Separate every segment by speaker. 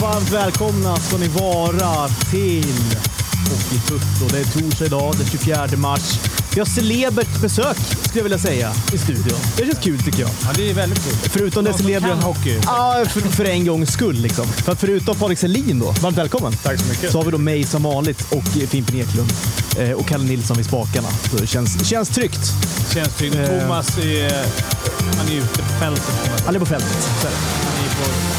Speaker 1: varmt välkomna ska ni vara till Hockey Tutto. Det är torsdag idag, den 24 mars. Vi har celebert besök, skulle jag vilja säga, i studion. Det känns kul tycker jag.
Speaker 2: Ja, det är väldigt kul.
Speaker 1: Förutom det
Speaker 2: Någon som
Speaker 1: celebra...
Speaker 2: kan hockey.
Speaker 1: Ja, för, för en gångs skull liksom. För att förutom Patrik Selin då, varmt välkommen.
Speaker 2: Tack så mycket.
Speaker 1: Så har vi då mig som vanligt och eh, Fimpen Eklund. Eh, och Kalle Nilsson vid spakarna. Så det känns, känns tryggt.
Speaker 2: Känns tryggt.
Speaker 1: Eh.
Speaker 2: Thomas är... Han är ute på fältet. Thomas.
Speaker 1: Alla är på fältet. Så är det.
Speaker 2: Han är på...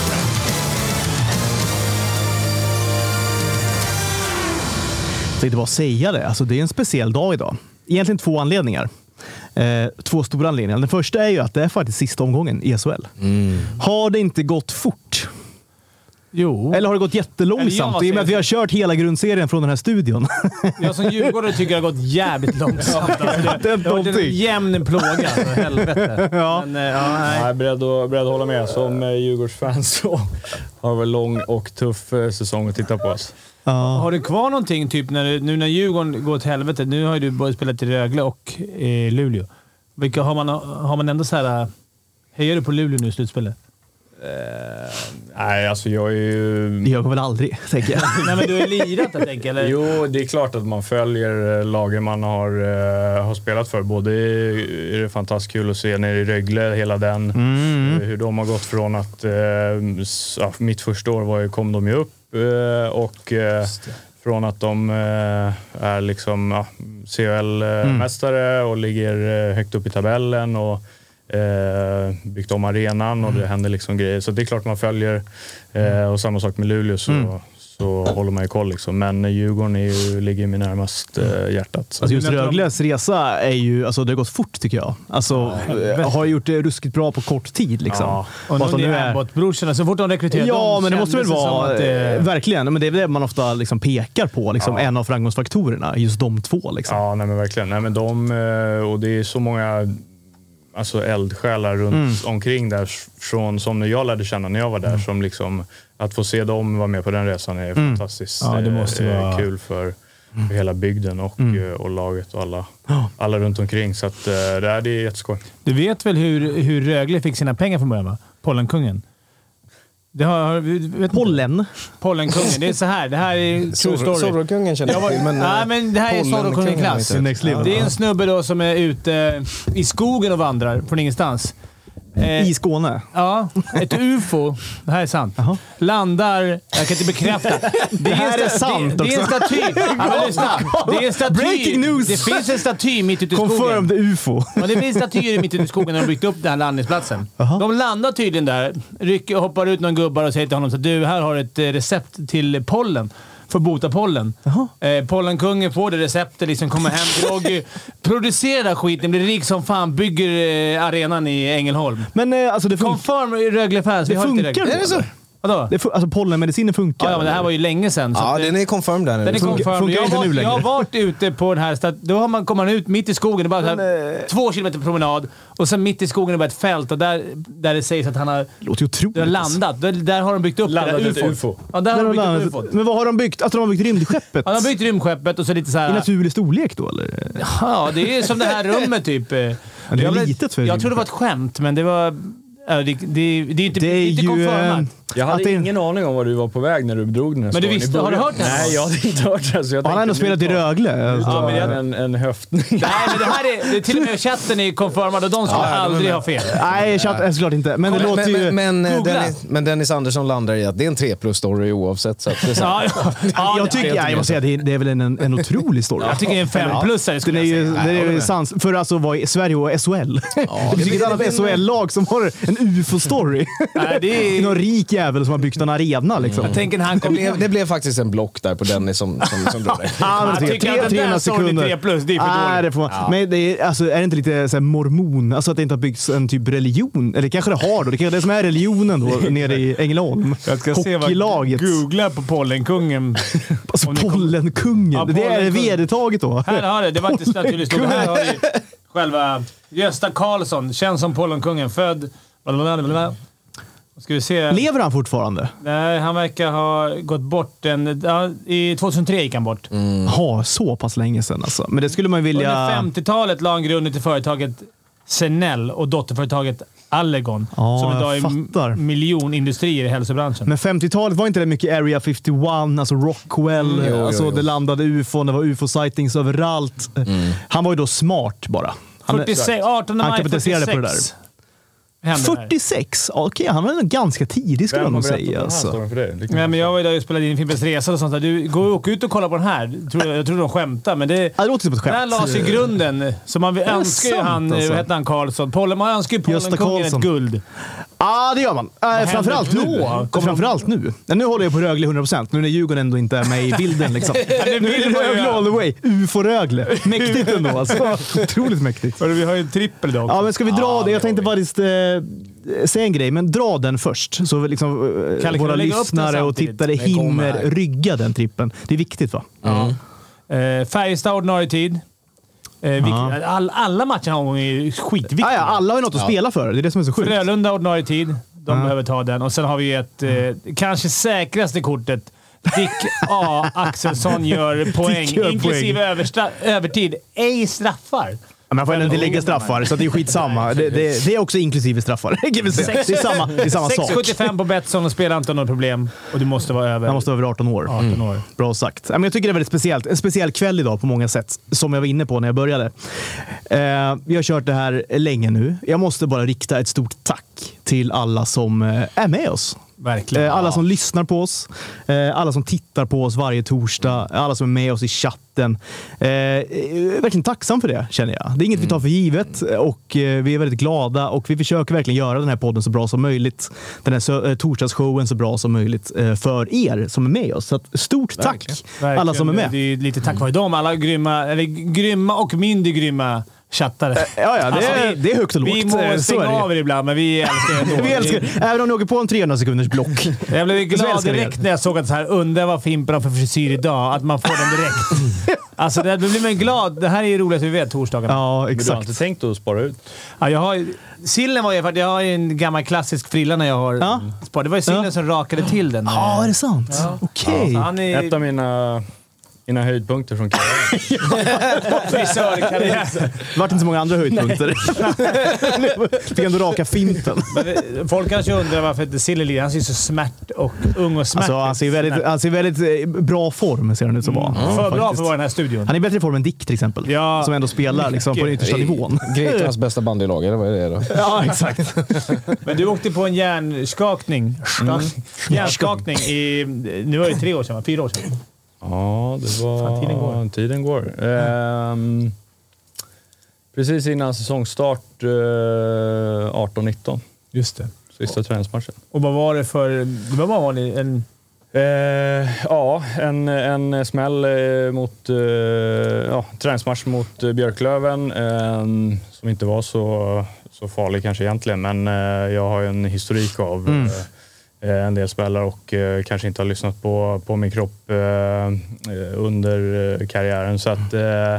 Speaker 1: Jag tänkte bara säga det. Alltså, det är en speciell dag idag. Egentligen två anledningar. Eh, två stora anledningar. Den första är ju att det är faktiskt sista omgången i SHL.
Speaker 2: Mm.
Speaker 1: Har det inte gått fort?
Speaker 2: Jo.
Speaker 1: Eller har det gått
Speaker 2: Eller
Speaker 1: jättelångsamt?
Speaker 2: jag
Speaker 1: I och med att vi har kört hela grundserien från den här studion.
Speaker 2: Jag som djurgårdare tycker jag har gått jävligt långsamt. Alltså, det,
Speaker 1: Det är
Speaker 2: det har varit en
Speaker 1: någonting.
Speaker 2: jämn plåga. Alltså, helvete.
Speaker 1: Ja.
Speaker 2: Men, eh, ja, nej.
Speaker 3: Jag är beredd att, beredd att hålla med. Som eh, Djurgårdsfan så har vi en lång och tuff eh, säsong att titta på oss.
Speaker 2: Har du kvar någonting, typ när, du- nu när Djurgården går åt helvete? Nu har ju du både spelat i Rögle och eh, Luleå. Vilka, har, man, har man ändå så här... eh, Hejar du på Luleå nu i slutspelet?
Speaker 3: Nej, alltså jag är ju...
Speaker 1: Det gör jag väl aldrig, tänker jag.
Speaker 2: Nej, men du har lirat jag tänker eller?
Speaker 3: Jo, det är klart att man följer eh, lagen man har, eh, har spelat för. Både i- är det fantastiskt kul att se nere i Rögle, hela den. eh, Hur de har gått från att... Eh, s- ja, mitt första år var, ju- kom de ju upp eh, och eh, från att de eh, är liksom ja, CHL-mästare eh, och ligger eh, högt upp i tabellen. Och, Eh, byggt om arenan och det
Speaker 1: Mm.
Speaker 3: händer liksom grejer. Så det är klart man följer. Eh, och samma sak med Luleå så,
Speaker 1: Mm.
Speaker 3: så håller man ju koll. Liksom. Men Djurgården är ju, ligger mig närmast eh, hjärtat. Så.
Speaker 1: Alltså just Rögles resa är ju, alltså det har gått fort tycker jag. Alltså, eh, har gjort det ruskigt bra på kort tid. Liksom.
Speaker 3: Ja.
Speaker 2: Och
Speaker 1: Fast
Speaker 2: nu
Speaker 1: de
Speaker 2: är
Speaker 1: nu
Speaker 2: det Abbott-brorsorna. Så fort de rekryterar
Speaker 1: Ja,
Speaker 2: dem
Speaker 1: men det måste väl
Speaker 2: kändes
Speaker 1: vara...
Speaker 2: som
Speaker 1: eh,
Speaker 2: att, eh,
Speaker 1: Verkligen. Men det är det man ofta liksom pekar på. Liksom, En av framgångsfaktorerna. Just de två. Liksom.
Speaker 3: Ja, nej men verkligen. Nej, men de, eh, och det är så många alltså eldsjälar runt
Speaker 1: Mm.
Speaker 3: omkring där, s- från, som när jag lärde känna när jag var där. Som liksom, att få se dem vara med på den resan
Speaker 1: Mm.
Speaker 3: är fantastiskt
Speaker 2: Ja, det
Speaker 3: eh,
Speaker 2: måste
Speaker 3: eh,
Speaker 2: vara-
Speaker 3: kul för, för hela bygden och, eh, och laget och alla,
Speaker 1: Mm. Ja.
Speaker 3: alla runt omkring. Så att, eh, det, här, det är jätteskoj.
Speaker 2: Du vet väl hur, hur Rögle fick sina pengar från början, va? Pollenkungen. Det har, har, vet
Speaker 1: Pollen.
Speaker 2: Pollenkungen. Det är så här. Det här är true story.
Speaker 4: Sorokungen känner
Speaker 2: Jag
Speaker 4: jag
Speaker 2: var,
Speaker 4: till, men...
Speaker 2: nej,
Speaker 4: eh,
Speaker 2: men det här är
Speaker 4: Pollenkungen har
Speaker 2: Sorokungen-klass.
Speaker 4: jag inte
Speaker 1: Next level.
Speaker 2: Det är en snubbe då som är ute eh, i skogen och vandrar från ingenstans. Eh,
Speaker 1: I Skåne.
Speaker 2: Ja, ett UFO. Det här är sant. Landar... Jag kan inte bekräfta. Det,
Speaker 1: här
Speaker 2: en sta-
Speaker 1: är sant
Speaker 2: det, det är en
Speaker 1: också.
Speaker 2: staty. Ja, men lyssna. Det är en staty.
Speaker 1: Breaking news!
Speaker 2: Det finns en staty mitt ute i
Speaker 1: Confirmed
Speaker 2: skogen.
Speaker 1: UFO.
Speaker 2: Ja, det finns statyer mitt ute i skogen när de byggt upp den här landningsplatsen. De landar tydligen där, rycker, hoppar ut någon gubbar och säger till honom så att du, här har ett eh, recept till pollen. För att bota pollen. Eh, pollenkungen får det receptet, liksom kommer hem, groggy, producerar den här skiten, blir rik som fan, bygger eh, arenan i Ängelholm.
Speaker 1: Men eh, alltså det funkar.
Speaker 2: Confirm i Rögle fans. Vi
Speaker 1: Det
Speaker 2: har inte
Speaker 1: funkar
Speaker 2: Rögle.
Speaker 1: då, Är det så?
Speaker 2: Vadå?
Speaker 1: Det fu- alltså pollenmedicinen funkar.
Speaker 2: Ja, ja, men det här var ju länge sedan. så
Speaker 4: Ja,
Speaker 2: att det-
Speaker 4: den är confirmed där nu.
Speaker 2: den är
Speaker 1: Funkar-
Speaker 2: confirmed.
Speaker 1: funkar
Speaker 2: jag, har
Speaker 1: inte
Speaker 2: varit-
Speaker 1: nu längre.
Speaker 2: jag har varit ute på den här stat- Då har man, kommer man ut mitt i skogen. Det är bara så här, två kilometer promenad och sen mitt i skogen är bara ett fält och där, där det sägs att han har,
Speaker 1: Det låter ju otroligt.
Speaker 2: det har landat. Där, där har de byggt upp
Speaker 3: Landat
Speaker 2: det
Speaker 3: ett
Speaker 2: där ufot.
Speaker 3: UFO.
Speaker 2: Ja, där har
Speaker 1: Där
Speaker 2: de
Speaker 1: har
Speaker 2: byggt upp
Speaker 1: landat.
Speaker 2: ufot.
Speaker 1: Men vad har de byggt? Att de har byggt rymdskeppet?
Speaker 2: Ja, de har byggt rymdskeppet och så lite så
Speaker 1: I
Speaker 2: här...
Speaker 1: naturlig storlek då, eller?
Speaker 2: Ja, det är som det här rummet typ.
Speaker 1: är
Speaker 2: jag blev-
Speaker 1: litet för
Speaker 2: Jag trodde det var ett skämt, men det var... ja, Det, det, det är inte, det är inte
Speaker 1: eh,
Speaker 2: confirmat.
Speaker 3: Jag
Speaker 1: att
Speaker 3: hade
Speaker 1: det är-
Speaker 3: ingen aning om var du var på väg när du drog den här
Speaker 2: Men du
Speaker 3: storyn i
Speaker 2: visste- har du
Speaker 3: början.
Speaker 2: hört den?
Speaker 3: Nej, jag hade inte hört den. Så jag
Speaker 1: Han har
Speaker 3: tänkte
Speaker 1: ändå
Speaker 3: nu
Speaker 1: spelat i
Speaker 3: tar-
Speaker 1: Rögle. alltså.
Speaker 3: Ja, men jag... en, en höftning.
Speaker 2: Nej, men det här är... Det, till och med chatten är confirmad och de skulle aldrig ha fel.
Speaker 1: Nej, chatt, eh, såklart inte. Men det
Speaker 4: Men,
Speaker 1: låter
Speaker 4: men,
Speaker 1: ju...
Speaker 4: men, men, eh,
Speaker 2: Googla.
Speaker 4: Dennis, men Dennis Andersson landar i att det är en 3 plus-story oavsett. Så att det är så här.
Speaker 2: Ja, ja, ja,
Speaker 1: jag, tycker, ja, jag måste säga, det är, det är väl en, en otrolig story.
Speaker 2: jag tycker det är en femplussare
Speaker 1: Den
Speaker 2: skulle
Speaker 1: är
Speaker 2: jag
Speaker 1: ju,
Speaker 2: säga.
Speaker 1: den är ju sans för alltså vad är Sverige och SHL. Ja, det finns inget annat SHL-lag som har en UFO-story.
Speaker 2: Nej, det är-
Speaker 1: Någon rik jävel som har byggt en arena liksom.
Speaker 2: Tänk när han
Speaker 4: det,
Speaker 2: kom
Speaker 4: blev,
Speaker 2: hem.
Speaker 4: det blev faktiskt en block där på Dennis som, som, som drog det.
Speaker 1: Ja, men
Speaker 2: Jag
Speaker 1: tycker
Speaker 2: tycker
Speaker 1: jag.
Speaker 2: att den där
Speaker 1: 300
Speaker 2: storyn är
Speaker 1: sekunder.
Speaker 2: tre plus, det är för
Speaker 1: Nej,
Speaker 2: dåligt.
Speaker 1: det får man. Men det är, alltså, är det inte lite så här mormon? Alltså att det inte har byggts en typ religion? Eller kanske det har då? Det kanske är det som är religionen då nere i Ängelholm.
Speaker 2: Jag ska se vad...
Speaker 1: Hockeylaget.
Speaker 2: Googla på pollenkungen.
Speaker 1: Alltså
Speaker 2: om ni kommer-
Speaker 1: pollenkungen.
Speaker 2: Ja,
Speaker 1: Det är
Speaker 2: pollenkungen.
Speaker 1: vedertaget då.
Speaker 2: Här har det. Det var inte så naturligt. stort. Här har vi själva Gösta Karlsson, känd som pollenkungen, född... blablabla. Ska vi se.
Speaker 1: Lever han fortfarande?
Speaker 2: Nej, han verkar ha gått bort en... Ja, I 2003 gick han bort.
Speaker 4: Mm.
Speaker 1: Ja, så pass länge sedan alltså. Men det skulle man ju vilja...
Speaker 2: Under 50-talet la han grunden till företaget Senell och dotterföretaget Allergon,
Speaker 1: Ja,
Speaker 2: som idag
Speaker 1: jag
Speaker 2: är
Speaker 1: fattar.
Speaker 2: m- miljonindustrier i hälsobranschen.
Speaker 1: Men 50-talet var inte det mycket Area 51, alltså Rockwell,
Speaker 4: Mm. jo,
Speaker 1: alltså
Speaker 4: jo. Mm.
Speaker 1: det landade ufon, det var ufo-sightings överallt. Han var ju då smart bara. Han,
Speaker 2: 46, 18
Speaker 1: Han
Speaker 2: maj
Speaker 1: kapitaliserade
Speaker 2: 46.
Speaker 1: på det där.
Speaker 2: hände det här.
Speaker 1: 46? Ja, Okej, han var ändå ganska tidig skulle
Speaker 3: Vem
Speaker 1: jag
Speaker 3: har
Speaker 1: nog
Speaker 3: berättat om den
Speaker 1: säga.
Speaker 3: här
Speaker 1: Alltså.
Speaker 3: storyn för dig? Det kan
Speaker 2: Nej,
Speaker 3: man-
Speaker 2: men jag var ju där och spelade in Fimpens Resa och sånt där. Du, gå och åk ut och kolla på den här. Tror, jag tror de skämtar, men det...
Speaker 1: Ja, Det låter som ett
Speaker 2: Där
Speaker 1: skämt.
Speaker 2: lades ju grunden. Så man önskar ju
Speaker 1: sant,
Speaker 2: han,
Speaker 1: alltså?
Speaker 2: vad hette han, Karlsson? Pollen, man önskar ju
Speaker 1: Gösta
Speaker 2: Pollenkungen ett
Speaker 1: Karlsson.
Speaker 2: guld.
Speaker 1: Ja, det gör man. Äh,
Speaker 2: händer
Speaker 1: framförallt nu.
Speaker 2: då? Kommer-
Speaker 1: Framförallt nu. Nej, nu håller jag på Rögle 100%, nu när Djurgården ändå inte är med i bilden. Liksom.
Speaker 2: det
Speaker 1: nu är
Speaker 2: vill
Speaker 1: det
Speaker 2: man ju
Speaker 1: Rögle
Speaker 2: göra.
Speaker 1: all the way. UFO-Rögle. Mäktigt ändå alltså. Otroligt mäktigt.
Speaker 2: Hörru, vi har ju en trippel då
Speaker 1: Ja, men ska vi dra
Speaker 2: Ja,
Speaker 1: det?
Speaker 2: det
Speaker 1: Jag tänkte
Speaker 2: har
Speaker 1: faktiskt eh, säga en grej, men dra den först. Så vi liksom, eh,
Speaker 2: Kalle, kan
Speaker 1: våra
Speaker 2: du lägga upp den
Speaker 1: lyssnare och
Speaker 2: samtidigt?
Speaker 1: tittare
Speaker 4: Den kommer
Speaker 1: hinner
Speaker 4: här.
Speaker 1: rygga den trippen. Det är viktigt va?
Speaker 2: Eh, Färjestad ordinarie tid. Eh, vilket,
Speaker 1: Ja.
Speaker 2: all, alla matcher har omgången är ju skitviktiga.
Speaker 1: Ah, ja, alla har ju något att spela för. Det är det som är så sjukt.
Speaker 2: Frölunda ordinarie tid. De
Speaker 1: Ja. Mm.
Speaker 2: behöver ta den. Och sen har vi ju ett, eh, kanske säkraste kortet. Dick A. Axelsson gör poäng,
Speaker 1: Dick gör
Speaker 2: inklusive överstra- övertid. Ej straffar.
Speaker 1: Ja, men jag får ändå inte lägga straffar, så det är skitsamma. Det, det, det är också inklusive straffar. kan vi säga. Det är samma, det är samma sak.
Speaker 2: 6,75 på Betsson och spelar inte har något problem. Och du måste vara över
Speaker 1: Man måste Mm. vara över 18 år.
Speaker 2: 18 år.
Speaker 1: Bra sagt. Ja, men Jag tycker det är väldigt speciellt. En speciell kväll idag på många sätt, som jag var inne på när jag började. Eh, vi har kört det här länge nu. Jag måste bara rikta ett stort tack till alla som eh, är med oss.
Speaker 2: Verkligen.
Speaker 1: Eh, Alla som lyssnar på oss, eh, alla som tittar på oss varje torsdag, alla som är med oss i chatten. Eh, Jag är verkligen tacksam för det, känner jag. Det är inget vi tar för givet eh, och eh, vi är väldigt glada och vi försöker verkligen göra den här podden så bra som möjligt. Den här sö- eh, torsdagsshowen så bra som möjligt eh, för er som är med oss. Så att stort tack
Speaker 2: Verkligen.
Speaker 1: alla som är med.
Speaker 2: Det är lite tack vare dem. Alla grymma, eller grymma och mindre grymma chattare.
Speaker 1: Eh, Ja, ja, det,
Speaker 2: Alltså, vi-
Speaker 1: är, det är högt och lågt.
Speaker 2: Vi
Speaker 1: Eh, så är
Speaker 2: må
Speaker 1: det
Speaker 2: stänga
Speaker 1: ju.
Speaker 2: av er ibland, men vi älskar er ändå.
Speaker 1: Vi älskar det. Även om ni åker på en 300 sekunders block.
Speaker 2: Jag blev glad
Speaker 1: älskar vi er.
Speaker 2: direkt när jag såg att så här, undrar vad Fimpen har för frisyr idag. Att man får den direkt. Alltså, det då blir man glad. Det här är ju roligt vi vet, torsdagarna. Ja.
Speaker 1: Ja,
Speaker 3: Men Du har
Speaker 1: exakt.
Speaker 3: inte tänkt att spara ut?
Speaker 2: jag har, ju- sillen var ju... för att Jag har ju en gammal klassisk frilla när jag har
Speaker 1: Ja.
Speaker 2: sparat. Det var ju sillen
Speaker 1: Ja.
Speaker 2: som rakade till den.
Speaker 1: Ja, är det sant?
Speaker 2: Ja.
Speaker 1: Okej.
Speaker 2: Så han är
Speaker 3: Ett av mina, mina höjdpunkter från karriären.
Speaker 2: frisörkarriär.
Speaker 1: Det vart inte så många andra höjdpunkter. Fick ändå raka fimpen.
Speaker 2: Men Folk kanske undrar varför inte Silly lirar. Han ser ju så smärt och ung och smärt
Speaker 1: Alltså, han, ser ju väldigt, han ser i väldigt eh, bra form, ser han ut som. Mm.
Speaker 2: För bra för att vara i den här studion.
Speaker 1: Han är i bättre form än Dick till exempel,
Speaker 2: Ja.
Speaker 1: som ändå spelar liksom, på den yttersta nivån.
Speaker 4: Greklands bästa bandylag, eller vad är det då?
Speaker 1: ja, exakt.
Speaker 2: Men du åkte på en hjärnskakning.
Speaker 1: Mm.
Speaker 2: Hjärnskakning i... Nu var det ju tre år sedan, va? Fyra år sedan.
Speaker 3: Ja, det var...
Speaker 2: Fan, tiden går.
Speaker 3: Tiden går. Ehm, precis innan säsongstart eh, 18-19.
Speaker 2: Just det.
Speaker 3: Sista träningsmatchen.
Speaker 2: Och vad var det för... Det var bara en... en
Speaker 3: Eh, ja, en, en smäll eh, mot eh, ja, träningsmatch mot eh, Björklöven eh, som inte var så, så farlig kanske egentligen, men eh, jag har ju en historik av eh, en del spelare och eh, kanske inte har lyssnat på, på min kropp eh, eh, under eh, karriären. Så att, eh,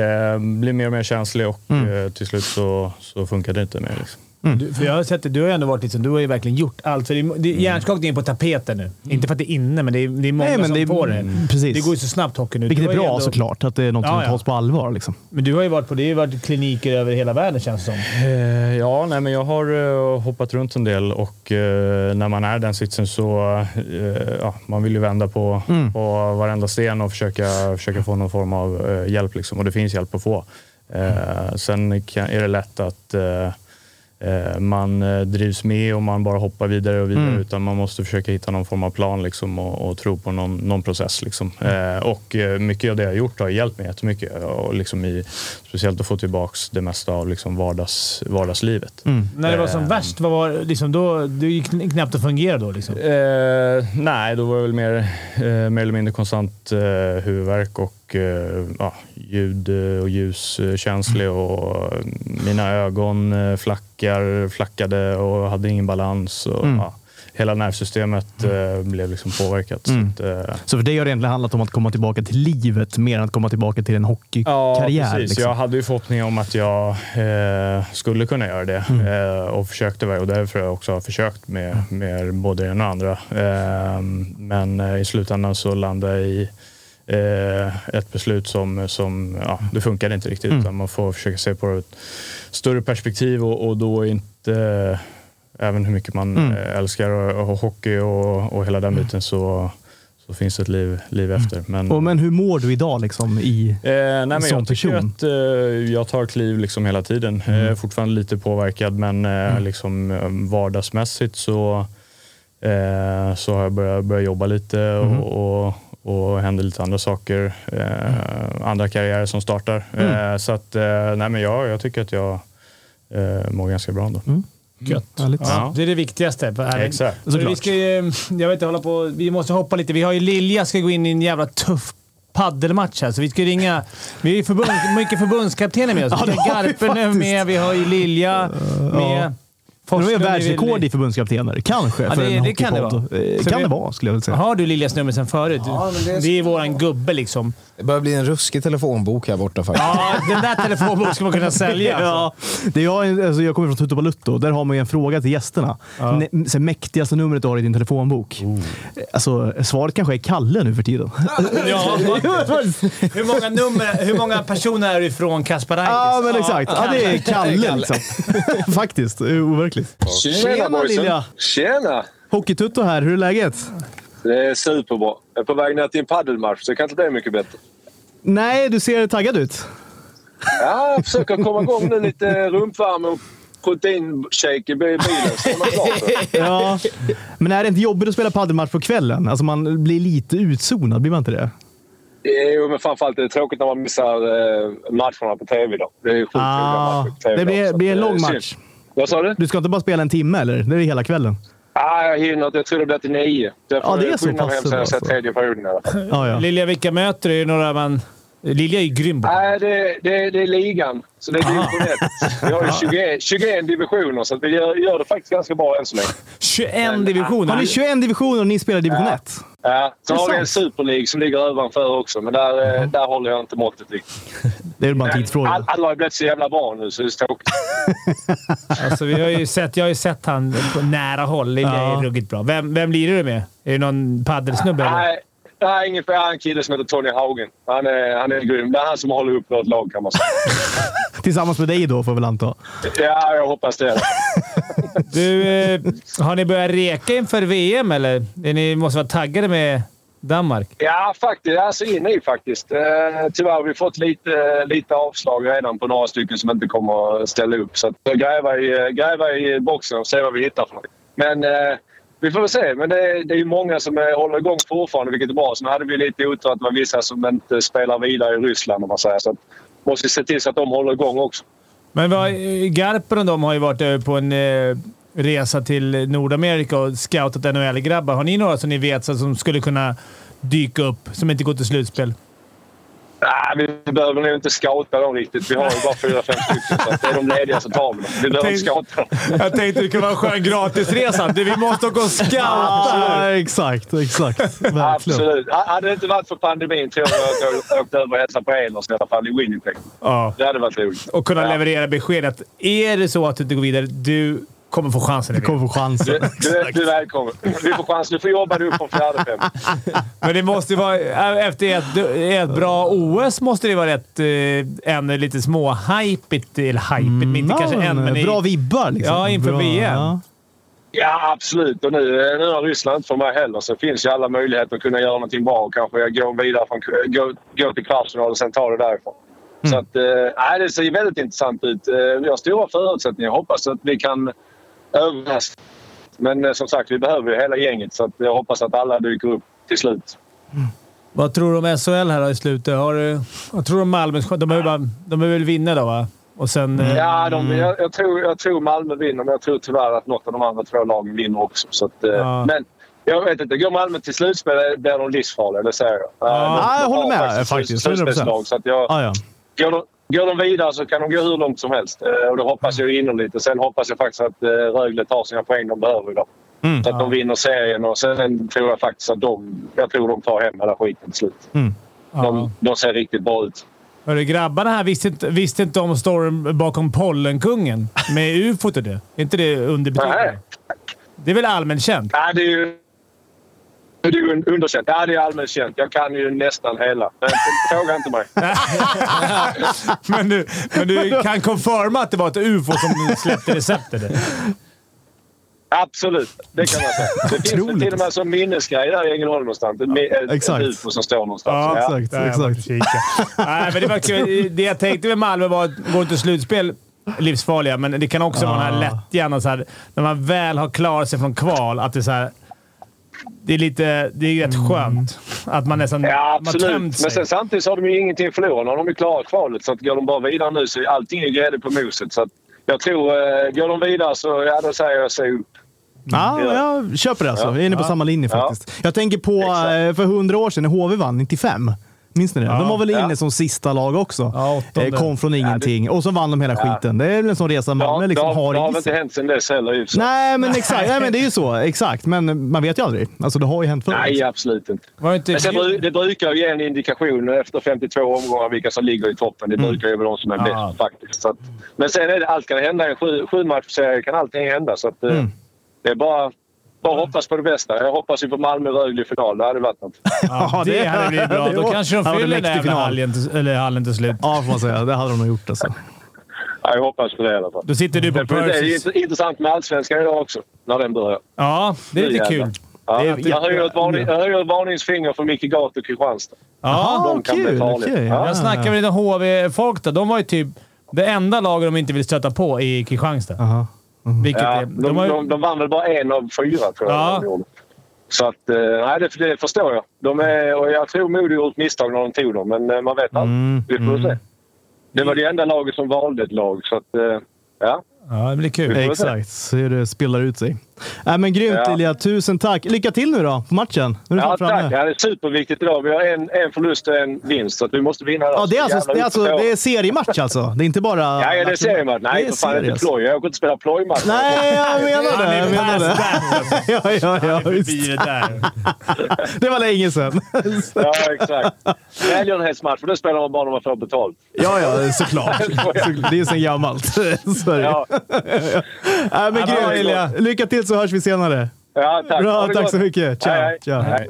Speaker 3: eh, blir mer och mer känslig och eh, till slut så, så funkar det inte mer. Liksom.
Speaker 1: Mm.
Speaker 2: du, för jag har sett det. Du har ju ändå varit liksom... Du har ju verkligen gjort allt. För det, är- det, hjärnskakning är på tapeten nu. Inte för att det är inne, men det är, det är många
Speaker 1: Mm. Nej, men
Speaker 2: som
Speaker 1: det är-
Speaker 2: får det.
Speaker 1: mm, precis.
Speaker 2: Det går ju så snabbt hockey nu.
Speaker 1: Vilket
Speaker 2: Du har
Speaker 1: är
Speaker 2: ju
Speaker 1: bra
Speaker 2: ändå-
Speaker 1: såklart, att det är något
Speaker 2: Ja, ja.
Speaker 1: som tas på allvar. Liksom.
Speaker 2: Men du har ju varit på... Det har ju varit kliniker över hela världen känns det som.
Speaker 3: Eh, Ja, nej, men jag har eh, hoppat runt en del och eh, när man är i den sitsen så eh, ja, man vill ju vända på, på varenda sten och försöka, försöka få någon form av eh, hjälp. Liksom. Och det finns hjälp att få. Eh, Sen kan, är det lätt att eh, eh, man eh, drivs med och man bara hoppar vidare och vidare utan man måste försöka hitta någon form av plan liksom, och, och tro på någon, någon process. Liksom. Eh, och eh, mycket av det jag har gjort har hjälpt mig jättemycket. Och liksom i, speciellt att få tillbaka det mesta av liksom vardags, vardagslivet.
Speaker 2: När det var
Speaker 1: Eh.
Speaker 2: som värst, vad var liksom då? Det gick kn- knappt att fungera då liksom.
Speaker 3: Eh, nej, då var det väl mer, eh, mer eller mindre konstant eh, huvudvärk och eh, ja, ljud eh, och ljuskänslig och eh, mina ögon eh, flackar, flackade och hade ingen balans. Och, ja, hela nervsystemet eh, blev liksom påverkat. Så att, eh,
Speaker 1: Så för dig har det egentligen handlat om att komma tillbaka till livet mer än att komma tillbaka till en
Speaker 3: Ja,
Speaker 1: hockeykarriär.
Speaker 3: precis.
Speaker 1: liksom.
Speaker 3: Jag hade ju förhoppningar om att jag eh, skulle kunna göra det
Speaker 1: Mm.
Speaker 3: eh, och försökte väl och därför har jag också försökt med, med både det ena och andra. Eh, men eh, i slutändan så landade jag i eh, ett beslut som, som ja, det funkade inte riktigt.
Speaker 1: Mm.
Speaker 3: Utan man får försöka se på det ur ett större perspektiv och, och då är inte, även hur mycket man
Speaker 1: Mm.
Speaker 3: eh, älskar och, och hockey och, och hela den biten, så, så finns det ett liv, liv efter. Men,
Speaker 1: Mm. Och, men hur mår du idag liksom i...
Speaker 3: Eh, nej, men
Speaker 1: som
Speaker 3: jag
Speaker 1: person?
Speaker 3: tycker
Speaker 1: Mm.
Speaker 3: att eh, jag tar kliv liksom hela tiden. Eh, fortfarande lite påverkad, men eh, liksom, eh, vardagsmässigt så, eh, så har jag börjat, börjat jobba lite och,
Speaker 1: Mm.
Speaker 3: och, och händer lite andra saker. Eh,
Speaker 1: Mm.
Speaker 3: andra karriärer som startar. Eh, så att, eh, nej, men jag, jag tycker att jag eh, mår ganska bra ändå.
Speaker 1: Mm.
Speaker 2: Gött.
Speaker 1: Härligt.
Speaker 3: Ja.
Speaker 2: Det är det viktigaste. För här.
Speaker 3: Exakt.
Speaker 2: Så vi
Speaker 3: Såklart.
Speaker 2: ska ju, jag vet inte, hålla på. Vi måste hoppa lite. Vi har ju Lilja ska gå in i en jävla tuff paddelmatch här, så vi ska ringa... Vi har ju förbund, mycket förbundskaptener med oss.
Speaker 1: Ja, det
Speaker 2: vi har
Speaker 1: har vi
Speaker 2: Garpen är
Speaker 1: faktiskt.
Speaker 2: med, vi har ju Lilja med.
Speaker 1: ja.
Speaker 2: Forslund
Speaker 1: Nu är
Speaker 2: är
Speaker 1: världsrekord
Speaker 2: väl-
Speaker 1: i förbundskaptener. Kanske
Speaker 2: Ja,
Speaker 1: för
Speaker 2: det-
Speaker 1: en
Speaker 2: det kan det
Speaker 1: hockeypodd.
Speaker 2: vara.
Speaker 1: Eh,
Speaker 2: Så
Speaker 1: Kan
Speaker 2: vi-
Speaker 1: det vara, skulle jag vilja säga.
Speaker 2: Har du Liljas nummer sedan förut?
Speaker 4: Ja, men
Speaker 2: det,
Speaker 4: det
Speaker 2: är...
Speaker 4: är-
Speaker 2: våran gubbe liksom.
Speaker 4: Det börjar bli en ruskig telefonbok här borta faktiskt.
Speaker 2: Ja, den där telefonboken ska man kunna sälja.
Speaker 1: Ja, det är jag, alltså jag kommer från Tutu Balutto. Där har man ju en fråga till gästerna. Ne, så här, mäktigaste numret du har i din telefonbok. Alltså, svaret kanske är Kalle nu för tiden.
Speaker 2: Oh. Ja, hur, många nummer, hur många personer är du ifrån Kasparaitis?
Speaker 1: Ja, men exakt. Ja, det är
Speaker 4: Det är
Speaker 1: Kalle
Speaker 4: Kalle.
Speaker 1: liksom. Faktiskt. Det är Overkligt. Tjena,
Speaker 5: boysen.
Speaker 1: Lilja.
Speaker 5: Tjena!
Speaker 1: Hockeytutto här. Hur är läget?
Speaker 5: Det är superbra. Jag är på väg ner till en paddelmatch, så det kan inte bli mycket bättre.
Speaker 1: Nej, du ser taggad ut.
Speaker 5: Ja, jag försöker komma igång nu. Lite rumpvärme och proteinshake i bilen, så är man klar. för det.
Speaker 1: Ja. Men är det inte jobbigt att spela paddelmatch på kvällen? Alltså man blir lite utzonad, blir man inte det?
Speaker 5: Jo, men framförallt är det tråkigt när man missar eh, matcherna på tv. Då. Det är sjukt
Speaker 1: Ah,
Speaker 5: roliga matcher på TV
Speaker 1: det
Speaker 5: då,
Speaker 1: blir-
Speaker 5: så att,
Speaker 1: blir en
Speaker 5: eh,
Speaker 1: lång
Speaker 5: synd.
Speaker 1: match.
Speaker 5: Vad sa du?
Speaker 1: Du ska inte bara spela en timme, eller? Det är hela kvällen.
Speaker 5: Ah, jag hinner inte. Jag tror det blir till nio. Därför
Speaker 1: Ja, det är så
Speaker 5: skyndar jag
Speaker 1: pass
Speaker 5: mig hem så
Speaker 1: bra,
Speaker 5: jag ser
Speaker 1: alltså.
Speaker 5: tredje perioden. i alla fall.
Speaker 1: Ja, ja.
Speaker 2: Lilja, vilka möter du? Är det några man... Lilja är ju grym på
Speaker 5: Nej, det, det, det är ligan. Så det är division 1. Vi har ju 21, 21 divisioner, så att vi gör, gör det faktiskt ganska bra än så länge.
Speaker 2: 21 divisioner.
Speaker 1: Har ni 21 divisioner och ni spelar division 1?
Speaker 5: Ja, så
Speaker 1: Det är
Speaker 5: har vi en
Speaker 1: sant.
Speaker 5: Super League som ligger ovanför också, men där, eh, där håller jag inte måttet riktigt.
Speaker 1: Det är väl bara en
Speaker 5: All-
Speaker 1: tidsfråga.
Speaker 5: Alla har ju blivit så jävla bra nu, så det är tråkigt.
Speaker 2: Alltså, vi har ju sett, jag har ju sett han på nära håll. Lilja
Speaker 1: Ja.
Speaker 2: är ruggigt bra. Vem, vem lirar du med? Är det någon paddelsnubbe eller?
Speaker 5: Nej, det här är ingen för jag har en kille som heter Tony Haugen. Han är, han är grym. Det är han som håller upp vårt lag, kan man säga.
Speaker 1: Tillsammans med dig då, får jag väl anta.
Speaker 5: Ja, jag hoppas det.
Speaker 2: Du, eh, har ni börjat reka inför VM eller? Är Ni måste vara taggade med Danmark.
Speaker 5: Ja, faktiskt. Jag är så inne i faktiskt. Eh, tyvärr har vi fått lite, lite avslag redan på några stycken som inte kommer att ställa upp. Så att jag gräva i, gräva i boxen och se vad vi hittar för något. Men eh, vi får väl se. Men det, det är ju många som eh, håller igång fortfarande, vilket är bra. Sen hade vi lite otur att det var vissa som inte spelar vidare i Ryssland, om man säger. Så att, måste se till så att de håller igång också.
Speaker 2: Men vad, eh, Garpen och de har ju varit över på en eh, resa till Nordamerika och scoutat NHL-grabbar. Har ni några som ni vet så- som skulle kunna dyka upp, som inte går till slutspel?
Speaker 5: Nej, vi behöver nog inte scouta dem riktigt. Vi har ju bara fyra, fem stycken. Så att det är de lediga som tar dem. Vi behöver inte scouta dem.
Speaker 2: Jag tänkte det kunde vara en skön gratisresa. Du, vi måste gå och scouta!
Speaker 1: Ja, exakt, exakt. Verkligen.
Speaker 5: Absolut. Ha- Hade det inte varit för pandemin tror jag att jag åkte över och hälsade på Ehlers i alla fall i Winnipeg.
Speaker 2: Ja.
Speaker 5: Det hade varit roligt.
Speaker 2: Och kunna
Speaker 5: Ja.
Speaker 2: leverera besked att är det så att du inte går vidare, du kommer få chansen. i VM.
Speaker 1: Kommer få chansen.
Speaker 5: Du, du, du är välkommen. Vi får chans. Du får jobba dig upp från fjärde fem.
Speaker 2: Men det måste ju vara... eh, Efter ett, ett bra OS måste det vara rätt... eh, En lite små hypigt Eller hypigt, men inte kanske än, men... i-
Speaker 1: Bra vibbar liksom.
Speaker 2: Ja, inför
Speaker 1: Bra,
Speaker 2: VM.
Speaker 1: ja.
Speaker 5: Ja, absolut. Och nu, nu har Ryssland inte för mig heller, så finns ju alla möjligheter att kunna göra någonting bra. Och kanske jag går vidare från, gå, gå till kvartsfinal och sen tar det därifrån.
Speaker 2: Mm.
Speaker 5: Så att, eh, nej, det ser väldigt intressant ut. Eh, vi har stora förutsättningar. Jag hoppas att vi kan överraska. Men eh, som sagt, vi behöver ju hela gänget, så att jag hoppas att alla dyker upp till slut.
Speaker 2: Vad tror du om SHL här då i slutet? Har du, vad tror du om Malmö? De behöver, bara, de behöver väl vinna då, va? Och sen... eh,
Speaker 5: Ja, de,
Speaker 1: Mm.
Speaker 5: jag, jag, tror, jag tror Malmö vinner, men jag tror tyvärr att något av de andra två lagen vinner också. Så att, eh,
Speaker 2: Ja.
Speaker 5: Men jag vet inte. Går Malmö till slutspel eh, blir de livsfarliga, det säger jag. Eh, de-
Speaker 1: Ja, jag
Speaker 5: de
Speaker 1: håller
Speaker 5: har
Speaker 1: med, faktiskt.
Speaker 5: slutspelslag, så att jag,
Speaker 1: Ah, ja.
Speaker 5: går, de, går de vidare så kan de gå hur långt som helst. Eh, och det hoppas jag inom lite. Sen hoppas jag faktiskt att eh, Rögle tar sina poäng de behöver idag.
Speaker 1: Mm.
Speaker 5: så att de vinner serien och sen tror jag faktiskt att de, jag tror de tar hem hela skiten till slut.
Speaker 1: Mm.
Speaker 2: ja.
Speaker 5: De, de ser riktigt bra ut.
Speaker 2: Hörru, grabbarna här visste inte, visste inte om storyn bakom Pollenkungen med ufot och det. Är inte det underbetyg?
Speaker 5: Nej.
Speaker 2: Det är väl allmänt känt?
Speaker 5: Nej, det är ju... Är du un- underkänt? Ja, det är allmänt känt. Jag kan ju nästan hela. Men fråga inte mig.
Speaker 2: men, du, men du kan konfirma att det var ett ufo som släppte receptet?
Speaker 5: Absolut, det kan man säga. Det finns väl
Speaker 1: Otroligt.
Speaker 5: till och med som minnesgrej där i Ängelholm någonstans. Ett, mi- ett,
Speaker 1: Exakt.
Speaker 5: ett UFO som står någonstans.
Speaker 1: Ja,
Speaker 5: Ja.
Speaker 1: exakt.
Speaker 2: Där jag måste kika. Nej, men det, var kul. det jag tänkte med Malmö var att går inte slutspel livsfarliga, men det kan också vara den här
Speaker 1: Ah.
Speaker 2: lättjan. och Så här, när man väl har klarat sig från kval, att det är så här, Det är lite... Det är
Speaker 1: Mm.
Speaker 2: rätt skönt. Att man nästan...
Speaker 5: Ja,
Speaker 2: man har
Speaker 5: absolut. Men
Speaker 2: tömt sig.
Speaker 5: sen, samtidigt så har de ju ingenting att förlora. Nu har de ju klarat kvalet. Så att går de bara vidare nu så är allting är grädde på moset. Så att jag tror, eh, går de vidare så ja, då säger jag säg upp.
Speaker 1: Ja,
Speaker 5: Ja.
Speaker 1: jag köper det alltså. Vi är inne på samma linje
Speaker 5: Ja.
Speaker 1: faktiskt. Jag tänker på
Speaker 5: Exakt.
Speaker 1: eh, för hundra år sedan när HV vann 95. Minns ni det? De var väl inne
Speaker 5: Ja.
Speaker 1: som sista lag också.
Speaker 2: Ja, åttonde.
Speaker 1: Eh, Kom från ingenting och så vann de hela skiten. Det är väl en sån resa
Speaker 5: Det har,
Speaker 1: Malmö liksom
Speaker 5: det har, det har
Speaker 1: har
Speaker 5: väl
Speaker 1: i
Speaker 5: inte
Speaker 1: sig.
Speaker 5: hänt sedan dess heller i och för sig.
Speaker 1: Nej, men exakt. Nej, men det är ju så. Exakt. Men man vet ju aldrig. Alltså, det har ju hänt förut.
Speaker 5: Nej, absolut inte.
Speaker 2: Var det inte-
Speaker 5: Men sen, bru- det brukar ju ge en indikation efter 52 omgångar vilka som ligger i toppen. Det brukar ju vara de som är bäst
Speaker 2: Mm. Ja.
Speaker 5: faktiskt. Så att, men sen är det, allt kan hända. I en sju, sju matchserie kan allting hända. Så att, eh,
Speaker 2: Mm.
Speaker 5: Det är bara, bara hoppas på det bästa. Jag hoppas ju på Malmö-Rögle i final. Det hade varit något.
Speaker 2: Ja, det,
Speaker 1: det-
Speaker 2: hade blivit bra.
Speaker 1: det
Speaker 2: Då
Speaker 1: var-
Speaker 2: kanske de
Speaker 1: ja, det var
Speaker 2: fyller den
Speaker 1: mäktig
Speaker 2: där jävla
Speaker 1: final.
Speaker 2: hallen till, eller hallen till slut.
Speaker 1: Ja, får man säga. Det hade de nog gjort alltså.
Speaker 5: Ja, jag hoppas på det i alla fall.
Speaker 2: Då sitter du på
Speaker 5: Det är ju
Speaker 2: Percy.
Speaker 5: int- intressant med Allsvenskan idag också, när den börjar.
Speaker 2: Ja, det är
Speaker 5: Nu
Speaker 2: lite
Speaker 5: jävlar.
Speaker 2: kul.
Speaker 5: Ja,
Speaker 2: Det är-
Speaker 5: jag höjer ett varning- jag höjer ett varningsfinger för Micke Gato och Kristianstad.
Speaker 2: Ja,
Speaker 1: Ah,
Speaker 5: de kan bli
Speaker 1: kul,
Speaker 5: farliga.
Speaker 1: okej.
Speaker 5: Ja.
Speaker 2: Jag snackade med lite HV-folk där. De var ju typ det enda laget de inte ville stöta på i Kristianstad.
Speaker 1: Aha.
Speaker 2: Vilket
Speaker 5: Ja,
Speaker 2: är,
Speaker 5: de,
Speaker 2: de har ju,
Speaker 5: de, de vann väl bara en av fyra, tror jag.
Speaker 2: Ja.
Speaker 5: de gjorde. Så att, eh, nej, det, det förstår jag. De är, och jag tror Modo gjorde ett misstag när de tog dem, men eh, man vet aldrig.
Speaker 1: Mm,
Speaker 5: vi får se. Det var det enda laget som valde ett lag, så att, eh, ja.
Speaker 2: ja, det blir kul.
Speaker 5: se.
Speaker 1: Exakt. Se hur det spelar ut sig. Äh, men grymt
Speaker 5: Ja.
Speaker 1: Ilja. Tusen tack. Lycka till nu då på matchen. Nu är du
Speaker 5: ja
Speaker 1: snart framme.
Speaker 5: tack. Ja, det är superviktigt idag. Vi har en, en förlust och en vinst, så att vi måste vinna.
Speaker 1: Ja, det är, alltså, det, är alltså, det är seriematch alltså. Det är inte bara...
Speaker 5: Ja, ja, det ser man. Nej,
Speaker 1: Det är
Speaker 5: för fan. Det
Speaker 1: serie,
Speaker 5: är inte
Speaker 1: alltså.
Speaker 5: ploj. Jag åker inte spela plojmatch.
Speaker 1: Nej, jag menar det. Jag menar det.
Speaker 2: alltså.
Speaker 1: Ja, ja, ja,
Speaker 2: Förbi
Speaker 1: visst.
Speaker 2: det där.
Speaker 1: Det var länge sedan.
Speaker 5: Ja, exakt. Välgörenhetsmatch, för då spelar man bara när man får betalt.
Speaker 1: Ja, ja, såklart. Så- Det är sen gammalt. Så är det.
Speaker 5: Ja,
Speaker 1: Nej, men
Speaker 5: det var
Speaker 1: grymt Ilja. Lycka till så hörs vi senare.
Speaker 5: ja tack. Ha
Speaker 1: Bra,
Speaker 5: det
Speaker 1: tack
Speaker 5: gott.
Speaker 1: så mycket.
Speaker 5: Hej,
Speaker 1: Ciao.
Speaker 5: hej.
Speaker 1: Ciao.
Speaker 5: Hej.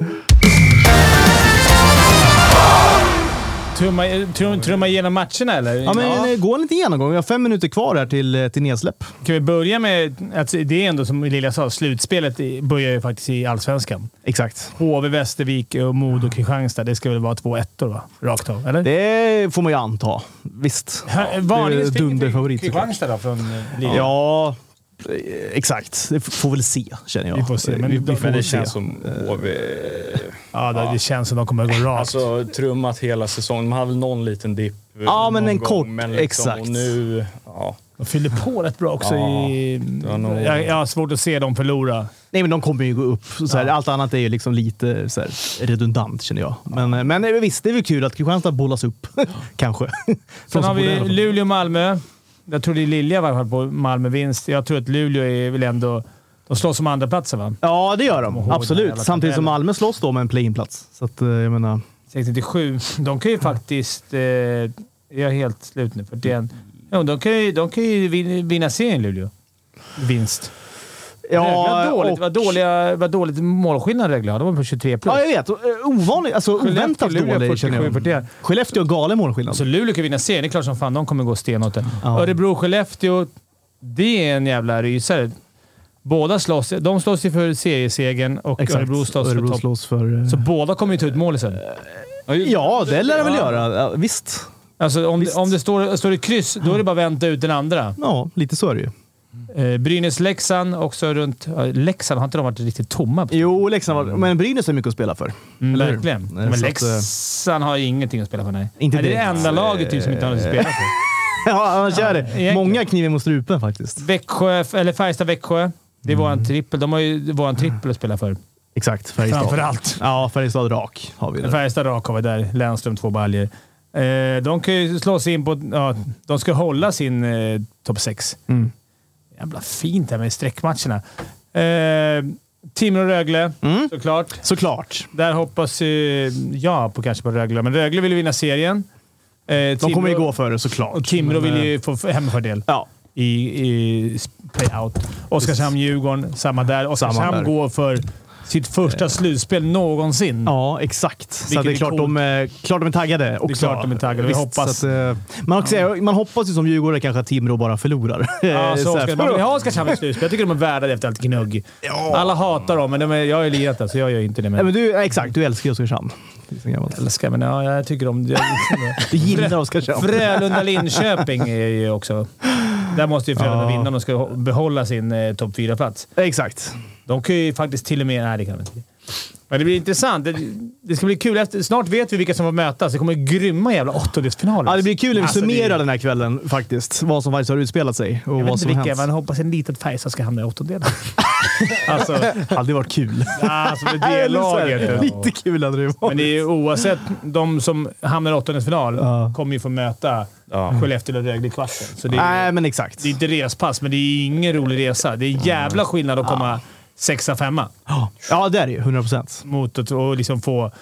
Speaker 2: Trumma, trum, trumma igenom matcherna eller?
Speaker 1: Ja, men eh, gå en liten genomgång. Vi har fem minuter kvar här till, eh, till nedsläpp.
Speaker 2: Kan vi börja med att det är ändå som Lilja sa, slutspelet i- börjar ju faktiskt i Allsvenskan.
Speaker 1: Exakt.
Speaker 2: HV, Västervik, och Modo, Kristianstad. Det ska väl vara två ettor va? Rakt av, eller?
Speaker 1: Det får man ju anta. Visst.
Speaker 2: Här-
Speaker 1: det är
Speaker 2: Varningstecken till
Speaker 1: dunderfavorit,
Speaker 2: Kristianstad då från eh, Lilja?
Speaker 1: Ja, eh, exakt. Det f- får väl se, känner jag.
Speaker 2: Vi får se, men-
Speaker 1: vi, vi
Speaker 2: men
Speaker 1: får väl
Speaker 3: Det
Speaker 1: se. Eh,
Speaker 3: känns som HV
Speaker 2: Ja, det, det känns som de kommer att gå rakt.
Speaker 3: Alltså trummat hela säsongen. Man hade väl någon liten dipp. eh,
Speaker 1: Ja, men
Speaker 3: någon liksom,
Speaker 1: en kort,
Speaker 3: Och
Speaker 1: exakt.
Speaker 3: nu... Ja.
Speaker 2: De fyller på rätt bra också.
Speaker 3: Ja,
Speaker 2: i,
Speaker 3: det var nog-
Speaker 2: jag, jag har svårt att se dem förlora.
Speaker 1: Nej, men de kommer ju gå upp. Så här, Allt annat är ju liksom lite så här, redundant, känner jag. Men, eh, men eh, visst, det är väl kul att Kristianstad bollas upp. Kanske.
Speaker 2: Sen har vi
Speaker 1: Luleå.
Speaker 2: Luleå-Malmö. Jag trodde Lilja var på Malmö-vinst. Jag tror att Luleå är väl ändå... De slåss om andra platser va?
Speaker 1: Ja, det gör de.
Speaker 2: ihåg den
Speaker 1: Absolut.
Speaker 2: jävla
Speaker 1: Samtidigt som
Speaker 2: tabellen.
Speaker 1: Malmö slåss då med en play-in-plats. Så att, eh, jag menar...
Speaker 2: 67. De kan ju faktiskt... Eh, jag är helt slut nu. 41. Jo, de, kan ju, de kan ju vin- vinna serien, Luleå. Vinst. Rögle var dåligt,
Speaker 1: och-
Speaker 2: var dåliga, var dåligt målskillnad Rögle har. De var på 23 plus.
Speaker 1: Ja, jag vet. Eh, Ovanligt. Alltså
Speaker 2: Skellefteå,
Speaker 1: oväntat
Speaker 2: Luleå,
Speaker 1: dålig, känner
Speaker 2: 47-41.
Speaker 1: jag. Skellefteå har galen målskillnad.
Speaker 2: Så Alltså, Luleå kan vinna serien. Det är klart som fan de kommer gå stenhårt där.
Speaker 1: Ja.
Speaker 2: Örebro-Skellefteå, det är en jävla rysare. Båda slåss. De slåss ju för seriesegern och
Speaker 1: Exakt.
Speaker 2: Örebro slåss för
Speaker 1: Örebro
Speaker 2: topp.
Speaker 1: slåss för... eh,
Speaker 2: Så båda kommer ju ta ut mål sen.
Speaker 1: Ja, det lär det väl göra. Ja, visst.
Speaker 2: Alltså om, det- om det står, står det kryss, då är det bara att vänta ut den andra.
Speaker 1: Ja, lite så är det ju.
Speaker 2: Eh, Brynäs-Leksand också runt... Ja, Leksand, har inte de varit riktigt tomma? På?
Speaker 1: Jo, Leksand var, men Brynäs är mycket att spela för.
Speaker 2: Mm,
Speaker 1: Mm, Eller hur?
Speaker 2: verkligen.
Speaker 1: Eh,
Speaker 2: Men
Speaker 1: så att,
Speaker 2: Leksand har ju ingenting att spela för, nej.
Speaker 1: Inte
Speaker 2: nej det är det
Speaker 1: direkt.
Speaker 2: enda laget typ, som inte har något att spela för.
Speaker 1: eh, Ja, annars är det.
Speaker 2: egentligen.
Speaker 1: Många kniven mot strupen faktiskt.
Speaker 2: Växjö, eller Färjestad-Växjö. Det är våran
Speaker 1: Mm.
Speaker 2: trippel. De har ju våran trippel att spela för.
Speaker 1: Exakt. Färjestad.
Speaker 2: Framförallt.
Speaker 1: Ja, Färjestad rak har vi där.
Speaker 2: Färjestad rak har vi där. Lennström två baljer. Eh, de kan ju slå sig in på... Ja, de ska hålla sin eh, topp 6.
Speaker 1: Mm.
Speaker 2: Jävla fint här med streckmatcherna. Eh, Timrå-Rögle,
Speaker 1: Mm.
Speaker 2: såklart.
Speaker 1: Såklart.
Speaker 2: Där hoppas ju jag på, kanske på Rögle, men Rögle vill ju vinna serien. Eh,
Speaker 1: De kommer ju
Speaker 2: Timrå-
Speaker 1: gå för det såklart.
Speaker 2: Och Timrå
Speaker 1: Men,
Speaker 2: vill
Speaker 1: eh,
Speaker 2: ju få f- hemmafördel.
Speaker 1: Ja,
Speaker 2: i, i playout. Oskarshamn-Djurgården, samma där. Oskarshamn
Speaker 1: där.
Speaker 2: går för sitt första slutspel någonsin.
Speaker 1: Ja, exakt. Så
Speaker 2: Vilket
Speaker 1: att det är
Speaker 2: är
Speaker 1: klart, de, eh, klart de är taggade också.
Speaker 2: klart de är taggade. Vi hoppas.
Speaker 1: så att, eh, man, också, man hoppas ju som djurgårdare kanske att Timrå bara förlorar.
Speaker 2: Ja,
Speaker 1: Eh, Så
Speaker 2: så
Speaker 1: här,
Speaker 2: Oskar,
Speaker 1: för-
Speaker 2: man vill ha Oskarshamn i slutspel. Jag tycker de är värda det efter allt gnugg. Alla hatar dem, men de är, jag har ju lirat där, så jag gör inte det.
Speaker 1: Nej,
Speaker 2: Men
Speaker 1: men du, ja, exakt, du älskar ju Oskarshamn. Det är så gammalt.
Speaker 2: jag älskar, men ja, jag tycker om det.
Speaker 1: Du gillar Oskarshamn.
Speaker 2: Frölunda-Linköping är ju också... Där måste ju Frölunda vinna om de ska ho- behålla sin eh, topp 4-plats.
Speaker 1: Exakt.
Speaker 2: De kan ju faktiskt till och med... Nej, det kan de inte. Men det blir intressant. Det, det ska bli kul. Efter, snart vet vi vilka som får mötas. Det kommer grymma jävla åttondelsfinaler.
Speaker 1: Ja, det blir kul när vi
Speaker 2: Alltså, det-
Speaker 1: summerar den här kvällen faktiskt. Vad som faktiskt har utspelat sig
Speaker 2: Jag
Speaker 1: och vad
Speaker 2: vet inte
Speaker 1: som
Speaker 2: vilka,
Speaker 1: hänt.
Speaker 2: men jag hoppas en liten Färjestad ska hamna i åttondelen. alltså,
Speaker 1: Aldrig varit kul.
Speaker 2: alltså, med det laget.
Speaker 1: Lite kul hade det ju varit.
Speaker 2: Men det är ju oavsett, de som hamnar i åttondelsfinal kommer ju få möta Skellefteå och Rögle i kvarten. Så det är,
Speaker 1: Nej, men exakt.
Speaker 2: det är inte respass, men det är ingen rolig resa.
Speaker 3: Mm.
Speaker 2: Det är en jävla skillnad att komma sexa, femma
Speaker 1: Ja, det är det ju. 100 procent.
Speaker 2: mot att och liksom få...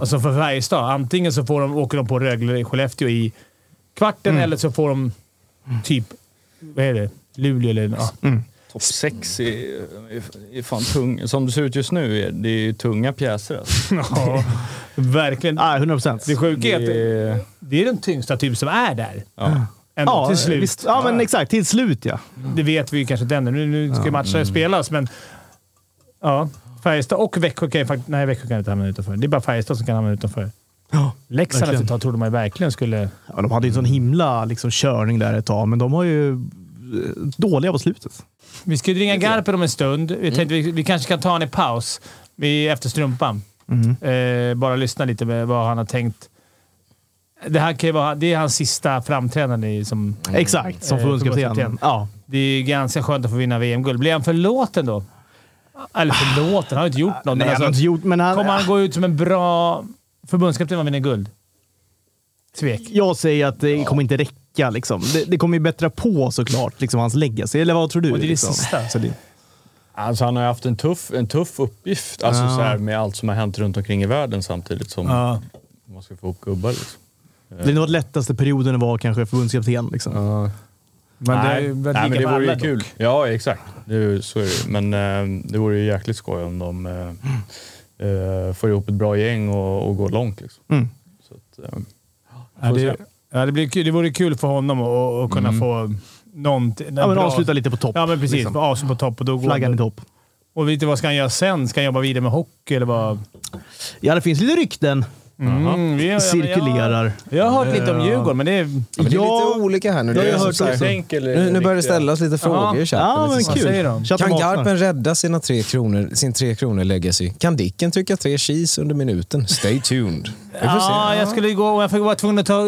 Speaker 2: Alltså för Färjestad, antingen så får de, åker de på Rögle i Skellefteå i kvarten
Speaker 1: Mm.
Speaker 2: eller så får de typ... Vad är det? Luleå eller... Ja.
Speaker 1: Mm.
Speaker 3: Topp 6 är, är fan tung. Som det ser ut just nu, är, det är ju tunga pjäser. Alltså.
Speaker 2: ja. Verkligen. Ah,
Speaker 1: Nej, 100 procent.
Speaker 2: Det sjuka är att det-
Speaker 3: Det är,
Speaker 2: det är den tyngsta typ som är där.
Speaker 3: ja.
Speaker 2: Ändå
Speaker 1: Ja,
Speaker 2: till slut.
Speaker 1: Visst, ja, men exakt. Till slut ja.
Speaker 2: Det vet vi ju kanske inte ännu. Nu, nu ska matcher
Speaker 1: Mm.
Speaker 2: spelas, men... Ja. Färjestad och Växjö kan ju faktiskt... Nej, Växjö kan inte hamna utanför. Det är bara Färjestad som kan hamna utanför.
Speaker 1: Ja,
Speaker 2: Leksand
Speaker 1: verkligen.
Speaker 2: resultat trodde man ju verkligen skulle...
Speaker 1: Ja, de hade ju en sån himla liksom, körning där ett tag, men de har ju eh, dåliga på slutet.
Speaker 2: Vi ska ju ringa Garpen om en stund.
Speaker 1: Mm.
Speaker 2: Vi, tänkte, vi, vi kanske kan ta en i paus vi, efter strumpan.
Speaker 1: Mm.
Speaker 2: Eh, bara lyssna lite med vad han har tänkt. Det här kan ju vara, det är hans sista framträdande i- som...
Speaker 1: Exakt, som
Speaker 2: Eh,
Speaker 1: förbundskapten.
Speaker 2: förbundskapten.
Speaker 1: Ja.
Speaker 2: Det är ju ganska skönt att få vinna VM-guld. Blir han förlåten då? Eller förlåten? Han har ju inte gjort något. men
Speaker 1: Nej, han
Speaker 2: alltså-
Speaker 1: har inte gjort, men han,
Speaker 2: Kommer han gå ut som en bra förbundskapten om han vinner guld? Tvek.
Speaker 1: jag säger att det kommer inte räcka. Liksom. Det, det kommer ju bättra på såklart, liksom, hans legacy. Eller vad tror du?
Speaker 2: Och det är det
Speaker 1: liksom?
Speaker 2: sista.
Speaker 1: Så det,
Speaker 3: Alltså han har ju haft en tuff, en tuff uppgift, alltså så här, med allt som har hänt runt omkring i världen samtidigt som man ska få ihop gubbar. Liksom.
Speaker 1: det är nog den lättaste perioden att vara kanske förbundskapten. Liksom.
Speaker 2: Men
Speaker 3: nej, nej, men det vore ju kul. Ja, exakt. Det, är ju- så är det. ju. Men eh, det vore ju jäkligt skoj om de eh, eh, får ihop ett bra gäng och, och går långt. Liksom.
Speaker 1: Mm.
Speaker 3: Så att, eh,
Speaker 2: Ja, det,
Speaker 3: se.
Speaker 2: ja, det, blir kul. det vore kul för honom att, att kunna få någonting.
Speaker 1: Ja, men avsluta lite på topp.
Speaker 2: Ja, men precis.
Speaker 1: liksom.
Speaker 2: Avsluta på topp och då går
Speaker 1: Flaggan i topp.
Speaker 2: Och vet du vad ska han göra sen? Ska han jobba vidare med hockey eller vad?
Speaker 1: Ja, det finns lite rykten.
Speaker 2: Mm, vi- ja, men
Speaker 1: Cirkulerar.
Speaker 2: Jag, jag har hört lite om Djurgården, men det är...
Speaker 4: Ja, men det är
Speaker 1: Ja,
Speaker 4: lite olika här nu. Det
Speaker 1: jag
Speaker 4: är
Speaker 1: har
Speaker 4: som
Speaker 1: hört
Speaker 4: så här-
Speaker 1: också.
Speaker 3: Enkel,
Speaker 4: nu, nu börjar det ställas lite frågor i chatten.
Speaker 1: Ja, men
Speaker 4: lite så.
Speaker 2: Vad säger de?
Speaker 1: kul. Chatten
Speaker 4: Kan
Speaker 1: vaknar.
Speaker 4: Garpen rädda sina tre kronor, sin tre kronor legacy? Kan Dicken tycka tre cheese under minuten? Stay tuned. Vi får se.
Speaker 2: Ja, jag skulle gå... Jag var tvungen att ta,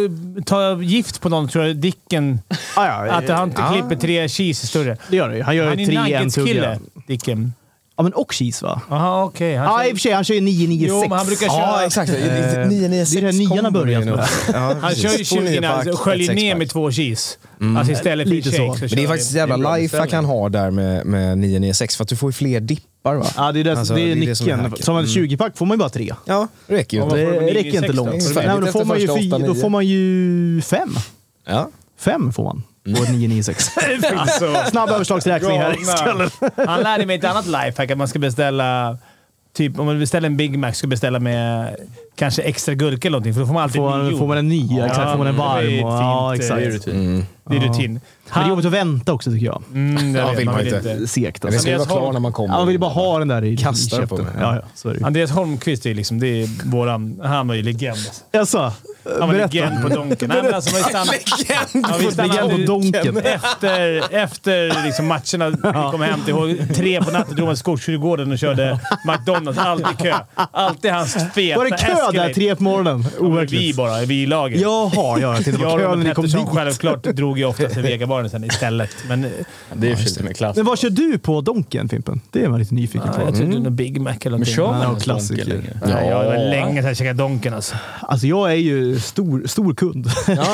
Speaker 2: ta gift på någon, tror jag. Dicken.
Speaker 1: Ah, ja,
Speaker 2: Att han
Speaker 4: Ja.
Speaker 2: klipper tre cheese större.
Speaker 1: Det gör det ju. Han gör
Speaker 2: Han
Speaker 1: ju
Speaker 2: är
Speaker 1: 3 1
Speaker 2: Nuggets-kille,
Speaker 1: tugga.
Speaker 2: Dicken.
Speaker 1: Ja, men och cheese va?
Speaker 2: Jaha, okej. Han
Speaker 1: Ja,
Speaker 2: kör-
Speaker 1: i och för sig. Han kör ju 996.
Speaker 2: Jo, men han brukar köra...
Speaker 4: Ja, exakt. 996
Speaker 1: det är det här nian har
Speaker 4: kommer
Speaker 1: börjat
Speaker 4: in
Speaker 1: med.
Speaker 4: också. Ja,
Speaker 2: Han
Speaker 4: precis.
Speaker 2: kör ju
Speaker 4: Två
Speaker 2: 20
Speaker 4: niopack,
Speaker 2: innan och sköljer
Speaker 4: ett
Speaker 2: ner
Speaker 4: sexpack.
Speaker 2: med två cheese. Alltså istället för
Speaker 1: Mm. Lite
Speaker 2: shake
Speaker 1: så.
Speaker 2: så.
Speaker 4: Men det
Speaker 2: kör
Speaker 4: är
Speaker 2: han-
Speaker 4: faktiskt ett jävla lifehack han har där med, med 996 för att du får ju fler dippar va?
Speaker 1: Ja, det är, det,
Speaker 4: Alltså,
Speaker 1: det är
Speaker 4: det som är
Speaker 1: nyckeln.
Speaker 4: hacken. Mm.
Speaker 1: som en 20-pack får man ju bara tre.
Speaker 4: Ja, det räcker ju.
Speaker 2: Ja,
Speaker 4: inte.
Speaker 1: Det
Speaker 2: får man nio
Speaker 1: räcker
Speaker 2: i
Speaker 1: inte
Speaker 2: sex då?
Speaker 1: långt.
Speaker 2: Får du
Speaker 1: Nej,
Speaker 4: väldigt
Speaker 1: men då, får
Speaker 4: efter
Speaker 1: man ju
Speaker 4: första
Speaker 1: fyra,
Speaker 4: åtta,
Speaker 1: då
Speaker 4: nio?
Speaker 1: får man ju fem.
Speaker 4: Ja.
Speaker 1: Fem får man på ett 996. Snabb överslagsräkning här i skallen.
Speaker 2: Han lärde mig ett annat lifehack, att man ska beställa... Typ om man beställer en Big Mac ska man beställa med kanske extra gurka eller någonting, för då får man alltid
Speaker 1: Får
Speaker 2: nio.
Speaker 1: man, får man en ny?
Speaker 2: Ja,
Speaker 1: exakt. Får man en
Speaker 2: det är
Speaker 1: varm?
Speaker 2: ett
Speaker 1: Och,
Speaker 2: fint,
Speaker 1: ja,
Speaker 2: eh,
Speaker 1: exakt.
Speaker 3: Det är
Speaker 1: Men
Speaker 3: rutin.
Speaker 2: Det är rutin.
Speaker 1: det är jobbigt att vänta också tycker jag.
Speaker 2: Mm, det
Speaker 4: Ja,
Speaker 2: vet
Speaker 4: vill man
Speaker 2: vill
Speaker 4: inte.
Speaker 1: Segt
Speaker 4: Det
Speaker 1: alltså.
Speaker 4: ska ju
Speaker 2: Andreas
Speaker 4: vara klar
Speaker 2: Holm-
Speaker 4: när man kommer.
Speaker 1: Ja, man vill ju bara ha den där i
Speaker 4: Kastar
Speaker 1: i
Speaker 4: på
Speaker 1: käften.
Speaker 4: mig.
Speaker 1: Ja, ja. Så är det ju.
Speaker 2: Andreas Holmqvist är ju liksom, det är våran... Han var ju legend.
Speaker 1: Jaså?
Speaker 2: Han var
Speaker 1: Berätta.
Speaker 2: legend på Donken. Nej, men alltså, man legend ja, vi stannade
Speaker 1: Legend på
Speaker 2: aldrig-
Speaker 1: Donken.
Speaker 2: Efter, efter liksom matcherna, vi kom hem till ihåg, tre på natten, drog man till Skogskyrkogården och körde McDonalds. Alltid kö. Alltid hans feta
Speaker 1: Var det kö där
Speaker 2: Escalade.
Speaker 1: tre på morgonen?
Speaker 2: Vi
Speaker 1: Overkligt.
Speaker 2: bara, vi i laget.
Speaker 1: Jaha, ja, jag tänkte
Speaker 2: Jag
Speaker 1: på
Speaker 2: och
Speaker 1: kön
Speaker 2: Robert
Speaker 1: när ni kom
Speaker 2: Pettersson
Speaker 1: dit.
Speaker 2: självklart drog ju ofta till Vegabaren sen istället. Men eh,
Speaker 3: Det är ju fint med klass.
Speaker 1: Men vad kör du på Donken, Fimpen? Det är man lite nyfiken på.
Speaker 2: jag trodde nog Big Mac eller
Speaker 3: Men
Speaker 2: någonting.
Speaker 3: kör man
Speaker 1: Ja,
Speaker 3: ens
Speaker 1: klassiker.
Speaker 3: Donken längre?
Speaker 2: Nej, jag var länge sedan jag käkade Donken alltså.
Speaker 1: Alltså jag är ju stor, stor kund.
Speaker 4: Ja, jo,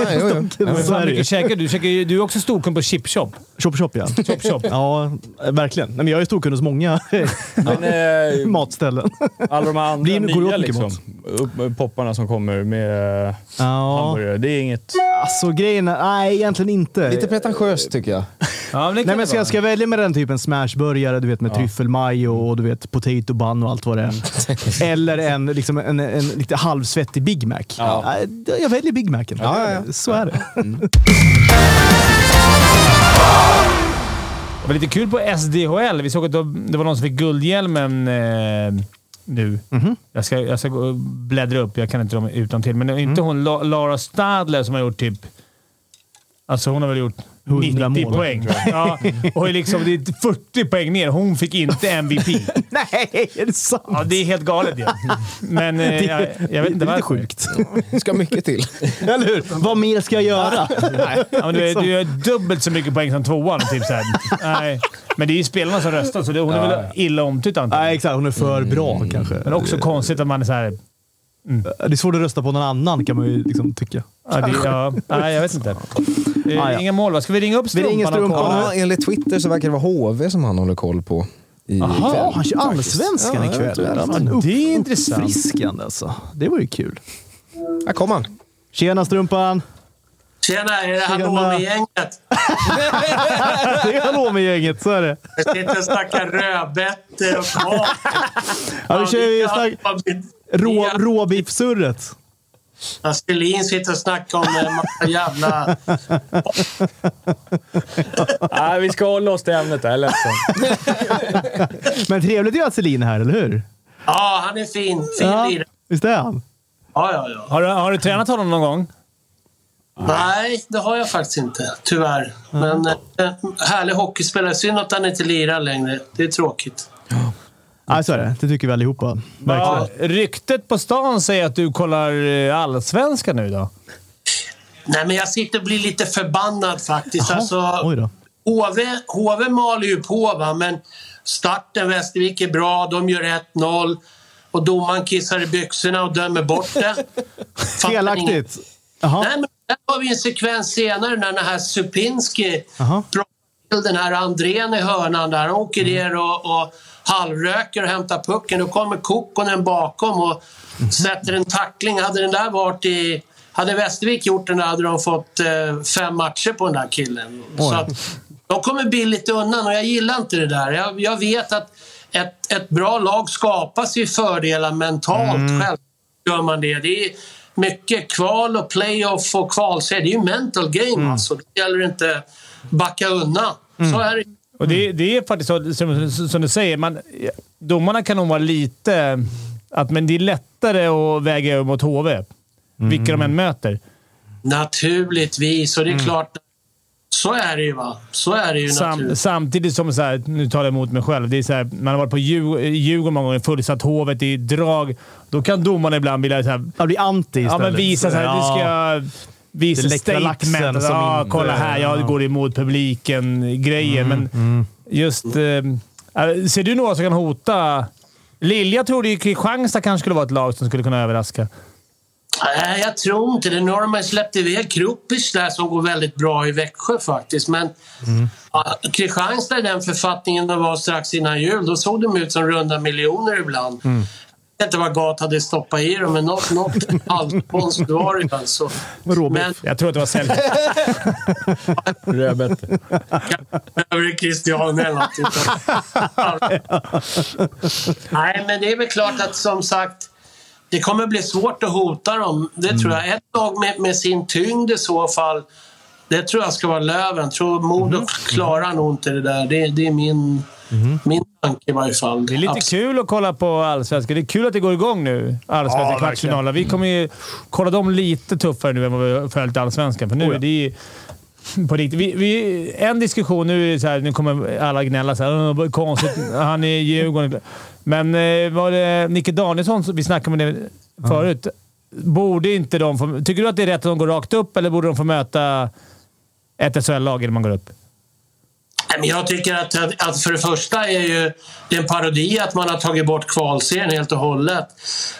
Speaker 4: jo.
Speaker 1: Ja, så
Speaker 2: Hur
Speaker 1: är det ju.
Speaker 2: mycket käkar du? Käkar ju- Du är också storkund på Chip Shop.
Speaker 1: Chop chop ja.
Speaker 2: Chop Shop.
Speaker 1: Ja, verkligen. Nej, men jag är storkund hos många
Speaker 3: Men, eh,
Speaker 1: matställen.
Speaker 3: Alla de andra
Speaker 1: Blir- går det
Speaker 3: nya
Speaker 1: åt mycket
Speaker 3: liksom.
Speaker 1: mat?
Speaker 3: upp, popparna som kommer med eh,
Speaker 1: Ja.
Speaker 3: hamburgare. Det är inget...
Speaker 1: Alltså grejen är, nej egentligen inte.
Speaker 4: Lite pretentiöst tycker jag.
Speaker 2: Ja, men det kan
Speaker 1: Nej,
Speaker 2: det
Speaker 1: men ska,
Speaker 2: vara.
Speaker 1: ska jag välja med den typen smashburgare, du vet med tryffelmajo och du vet potato bun och allt vad det är. Eller en, liksom, en, en lite halvsvettig Big Mac. Nej, Jag väljer Big Macen.
Speaker 4: Ja, ja, ja.
Speaker 1: Så är det.
Speaker 2: Det var lite kul på SDHL. Vi såg att de- det var någon som fick Guldhjälmen eh, nu.
Speaker 1: Mhm.
Speaker 2: Jag, ska, jag ska gå och bläddra upp. Jag kan inte dem utan till. Men det är
Speaker 1: Mm.
Speaker 2: inte hon La, Lara Stadler som har gjort typ... Alltså hon har väl gjort
Speaker 1: 100
Speaker 2: 90
Speaker 1: mål,
Speaker 2: poäng. Ja, och är liksom, det är 40 poäng ner. Hon fick inte MVP.
Speaker 1: Nej, är det sant?
Speaker 2: Ja, det är helt galet ju. Men eh, jag, jag vet
Speaker 1: det
Speaker 2: inte
Speaker 1: är lite
Speaker 2: varför.
Speaker 1: sjukt.
Speaker 4: Det ska mycket till.
Speaker 1: Eller hur? Vad mer ska jag göra?
Speaker 2: Ja, men du, är,
Speaker 1: Liksom.
Speaker 2: du är dubbelt så mycket poäng som tvåan. Typ, så här. Nej. Men det är ju spelarna som röstar, så det, hon är väl illa omtyckt antagligen.
Speaker 1: Nej, exakt. Hon är för bra kanske.
Speaker 2: Men också konstigt att man är såhär...
Speaker 1: Det är svårt att rösta på någon annan kan man ju liksom tycka.
Speaker 2: Ja, det, ja, nej, jag vet inte. Eh,
Speaker 1: Ah, ja.
Speaker 2: Inga mål va? Ska vi ringa upp
Speaker 1: Vi ringer
Speaker 2: strumpan? och kolla?
Speaker 1: Strumpan.
Speaker 4: Ja, enligt Twitter så verkar det vara HV som han håller koll på. I
Speaker 1: Jaha,
Speaker 4: kväll,
Speaker 1: han kör
Speaker 4: faktiskt.
Speaker 1: allsvenskan
Speaker 4: Ja, jag
Speaker 1: ikväll.
Speaker 4: tror det.
Speaker 1: Ja, men upp-
Speaker 2: Det är intressant.
Speaker 1: Uppfriskande alltså. Det var ju kul.
Speaker 4: Här kommer han.
Speaker 1: Tjena Strumpan!
Speaker 6: Tjena, är det hallå
Speaker 1: Tjena.
Speaker 6: med gänget?
Speaker 1: Det är hallå med gänget, så är det.
Speaker 6: Jag sitter och snackar rödbetor och mat.
Speaker 1: Ja, nu kör vi snack... Rå,
Speaker 6: Ja,
Speaker 1: råbiffsurret.
Speaker 6: Stelin sitter och snackar om en massa jävla...
Speaker 3: Nej, vi ska hålla oss till ämnet. Jag är ledsen.
Speaker 1: Men trevligt ju att Selin är här, eller hur?
Speaker 6: Ja, han är fin. Fin
Speaker 1: Ja,
Speaker 6: lirare.
Speaker 1: visst är han?
Speaker 6: Ja, ja, ja.
Speaker 2: Har, du, har du tränat honom någon gång?
Speaker 6: Nej, det har jag faktiskt inte. Tyvärr. Men eh, härlig hockeyspelare. Synd att han inte lirar längre. Det är tråkigt.
Speaker 1: Nej, så är det. Det tycker vi allihopa.
Speaker 2: Ja,
Speaker 1: Verkligen.
Speaker 2: ryktet på stan säger att du kollar eh, allsvenskan nu då.
Speaker 6: Nej, men jag sitter och blir lite förbannad faktiskt. Alltså,
Speaker 1: Oj då.
Speaker 6: HV, HV maler ju på, va? men starten, Västervik är bra, de gör 1-0 och domaren kissar i byxorna och dömer bort det. Fattar ingen-
Speaker 1: Felaktigt. Jaha.
Speaker 6: Nej, men där har vi en sekvens senare när den här Supinski
Speaker 1: Jaha. Mm.
Speaker 6: plockar till den här Andrén i hörnan där. Han åker ner och, och halvröker och hämtar pucken. Då kommer Kokkonen bakom och
Speaker 1: Mhm.
Speaker 6: sätter en tackling. Hade den där varit i... Hade Västervik gjort den där hade de fått eh, fem matcher på den där killen. Så att, de kommer billigt undan och jag gillar inte det där. Jag, jag vet att ett, ett bra lag skapas ju fördelar mentalt.
Speaker 1: Mm.
Speaker 6: Själv gör man det. Det är mycket kval och playoff och kvalserie. Det är ju mental game alltså. Det gäller inte backa undan. Så är det.
Speaker 2: Och det, det är faktiskt så, som, som du säger, man, domarna kan nog vara lite... Att, men det är lättare att väga över mot HV, vilka de än möter.
Speaker 6: Naturligtvis, och det är klart. Så är det ju va. Så är det ju
Speaker 2: Sam,
Speaker 6: naturligtvis.
Speaker 2: samtidigt som, så här, nu talar jag emot mig själv, det är så här, man har varit på Djur- Djurgården många gånger, fullsatt Hovet i drag. Då kan domarna ibland vilja så här,
Speaker 1: Han blir anti
Speaker 2: ja,
Speaker 1: istället.
Speaker 2: men visa så här, nu ska jag
Speaker 1: Det
Speaker 2: visa
Speaker 1: läckra laxen
Speaker 2: statement. alltså,
Speaker 1: som
Speaker 2: Ja,
Speaker 1: inte-
Speaker 2: kolla här, jag går emot publiken-grejer.
Speaker 1: Mm,
Speaker 2: men just... Eh, äh, ser du några som kan hota? Lilja trodde ju Kristianstad kanske skulle vara ett lag som skulle kunna överraska.
Speaker 6: Nej, Eh, jag tror inte det. Nu har de ju släppt iväg Krupic där som går väldigt bra i Växjö faktiskt. Men ja, Kristianstad i den författningen de var strax innan jul, då såg de ut som runda miljoner ibland. Jag vet inte vad Gat hade stoppat i dem, men något, något halvkonst var det alltså. Men
Speaker 2: Jag tror att det var Selke.
Speaker 3: Rödbetor.
Speaker 6: över i Christian eller något. Utan- Nej, men det är väl klart att som sagt, det kommer bli svårt att hota dem. Det
Speaker 2: Mm.
Speaker 6: tror jag. Ett lag med, med sin tyngd i så fall, det tror jag ska vara Löven. Jag tror Modo
Speaker 2: Mm.
Speaker 6: klarar nog inte det där. Det, det är min, min tanke i varje fall.
Speaker 2: Det är lite kul att kolla på allsvenskan. Det är kul att det går igång nu, allsvenskan
Speaker 1: Ja,
Speaker 2: kvartsfinaler. Vi kommer ju kolla dem lite tuffare nu än vad vi har följt allsvenskan. För nu är det ju på riktigt. Vi, vi, en diskussion. Nu, är det så här, nu kommer alla gnälla så här, "Åh, vad konstigt. Han är i Djurgården. Men eh, var det Nicke Danielsson, som- vi snackade om det förut. Borde inte de få, tycker du att det är rätt att de går rakt upp eller borde de få möta ett SHL-lag innan man går upp?
Speaker 6: Nej, men jag tycker att, att, att för det första är ju, det är en parodi att man har tagit bort kvalserien helt och hållet.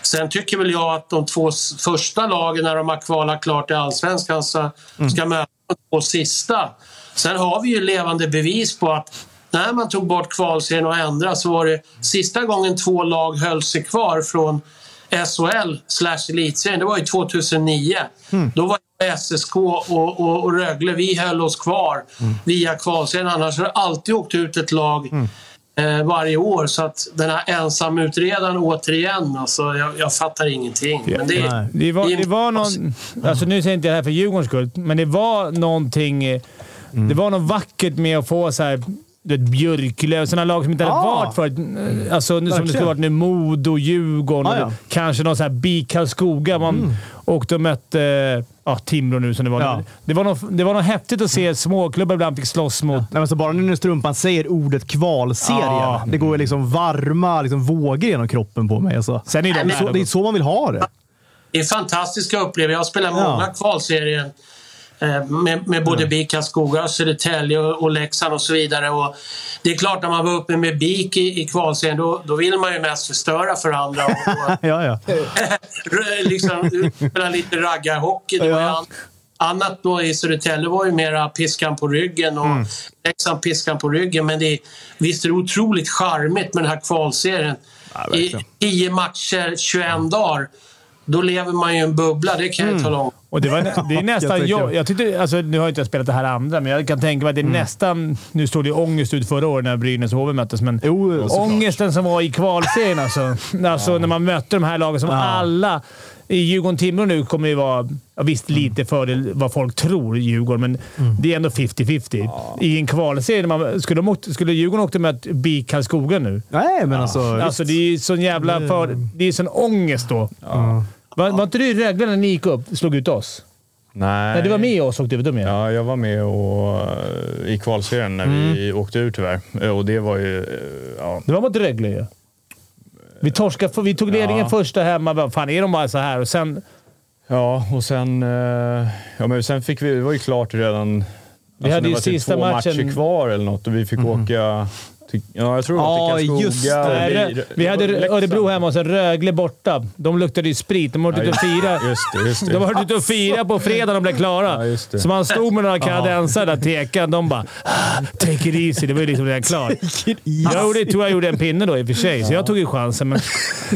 Speaker 6: Sen tycker väl jag att de två s- första lagen när de har kvalat klart i allsvenskan så ska möta de två sista. Sen har vi ju levande bevis på att när man tog bort kvalserien och ändrade så var det sista gången två lag höll sig kvar från SHL slash elitserien, det var ju 2009. Då var jag SSK och, och, och Rögle, vi höll oss kvar via kvalserien. Annars har det alltid åkt ut ett lag eh, varje år. Så att den här ensamutredaren återigen, alltså, jag, jag fattar ingenting. Men det,
Speaker 1: Nej.
Speaker 2: Det var, det var någon, alltså nu säger jag inte det här för Djurgårdens skull, men det var någonting... eh,
Speaker 1: Mm.
Speaker 2: Det var något vackert med att få så här, du vet, Björklöv, sådana lag som inte hade
Speaker 1: Ja.
Speaker 2: varit förut. Eh, Alltså, nu, som det
Speaker 1: Verkligen.
Speaker 2: skulle varit nu. Modo, Djurgården,
Speaker 1: Ja,
Speaker 2: och
Speaker 1: ja. Mm.
Speaker 2: kanske någon så här BIK Karlskoga. Man åkte och mötte eh, ja, Timrå nu som det var.
Speaker 1: Ja.
Speaker 2: nu. Det, var något, det var något häftigt att se småklubbar ibland fick slåss mot
Speaker 1: Nej, men så bara nu när strumpan säger ordet kvalserie.
Speaker 2: Ja.
Speaker 1: Det går ju liksom varma liksom vågor genom kroppen på mig. Alltså.
Speaker 2: Sen är de
Speaker 1: det, är så,
Speaker 2: där.
Speaker 1: det är så man vill ha det.
Speaker 6: Det är fantastiska upplevelser. Jag har spelat
Speaker 1: Ja.
Speaker 6: många kvalserier eh, med, med både BIK Karlskoga, Södertälje och, och Leksand och så vidare. Och det är klart, när man var uppe med BIK i, i kvalserien, då, då vill man ju mest förstöra för andra. Och, och,
Speaker 1: Ja, ja.
Speaker 6: r- liksom, spela lite raggarhockey. Det var ju
Speaker 1: Ja.
Speaker 6: an- annat då i Södertälje var ju mera piskan på ryggen och
Speaker 1: Mm.
Speaker 6: Leksand piskan på ryggen. Men det är, visst är det otroligt charmigt med den här kvalserien. I
Speaker 1: verkligen.
Speaker 6: 10 matcher, 21 dagar. Då lever man ju i en bubbla, det kan
Speaker 1: Mm.
Speaker 6: jag ju tala om.
Speaker 2: Och det, var, nä- det är nästan...
Speaker 1: Jättekul.
Speaker 2: jag, jag tyckte, alltså, nu har jag inte jag spelat det här andra, men jag kan tänka mig att det är
Speaker 1: Mm.
Speaker 2: nästan... Nu stod det ju ångest ut förra året när Brynäs och HV möttes, men
Speaker 1: Jo, såklart.
Speaker 2: ångesten som var i kvalserien alltså. alltså När man mötte de här lagen som alla... I Djurgården-Timrå nu kommer ju vara... ja, Visst,
Speaker 1: Mm.
Speaker 2: lite fördel vad folk tror i Djurgården, men det är ändå 50-50. I en kvalserie, när man, skulle, de åkt, skulle Djurgården åkt och mött BIK Karlskoga nu?
Speaker 1: Nej, men alltså...
Speaker 2: Alltså, det är ju sån jävla... För, det är sån ångest då. Var, var inte du i Rögle när ni gick upp slog ut oss?
Speaker 3: Nej.
Speaker 2: Nej, du var med oss och du var med.
Speaker 3: Ja, jag var med och, eh, i kvalserien när vi
Speaker 2: Mm.
Speaker 3: åkte ur tyvärr. Eh, Och det var ju... eh, Ja,
Speaker 2: Det var mot Rögle ju. Vi torskade, för vi tog ledningen
Speaker 3: Ja.
Speaker 2: första hemma. Vad Fan, är de bara så här? Och sen...
Speaker 3: ja och sen... eh, Ja, men sen fick vi... Det var ju klart redan... alltså, Vi
Speaker 2: hade ju sista
Speaker 3: typ två
Speaker 2: matchen- Mhm.
Speaker 3: matcher kvar eller något och vi fick åka... till- Ja, jag tror det
Speaker 1: Ja,
Speaker 3: var till Karlskoga.
Speaker 1: just det.
Speaker 3: och
Speaker 2: Nej,
Speaker 3: vi-
Speaker 2: Rö- vi hade
Speaker 3: Leksand.
Speaker 2: Örebro hemma och sen Rögle borta. De luktade ju sprit. De har varit
Speaker 3: Ja,
Speaker 2: ute och fira.
Speaker 3: Just det, just det.
Speaker 2: De har varit ute och fira på fredag de blev
Speaker 3: Ja,
Speaker 2: klara.
Speaker 3: just det.
Speaker 2: så man stod med några kanadensare där, tekan. De bara ah, “Take it easy”. Det var ju liksom redan klart. Jag gjorde, tror jag gjorde en pinne då i och för sig, så jag tog ju chansen. Men,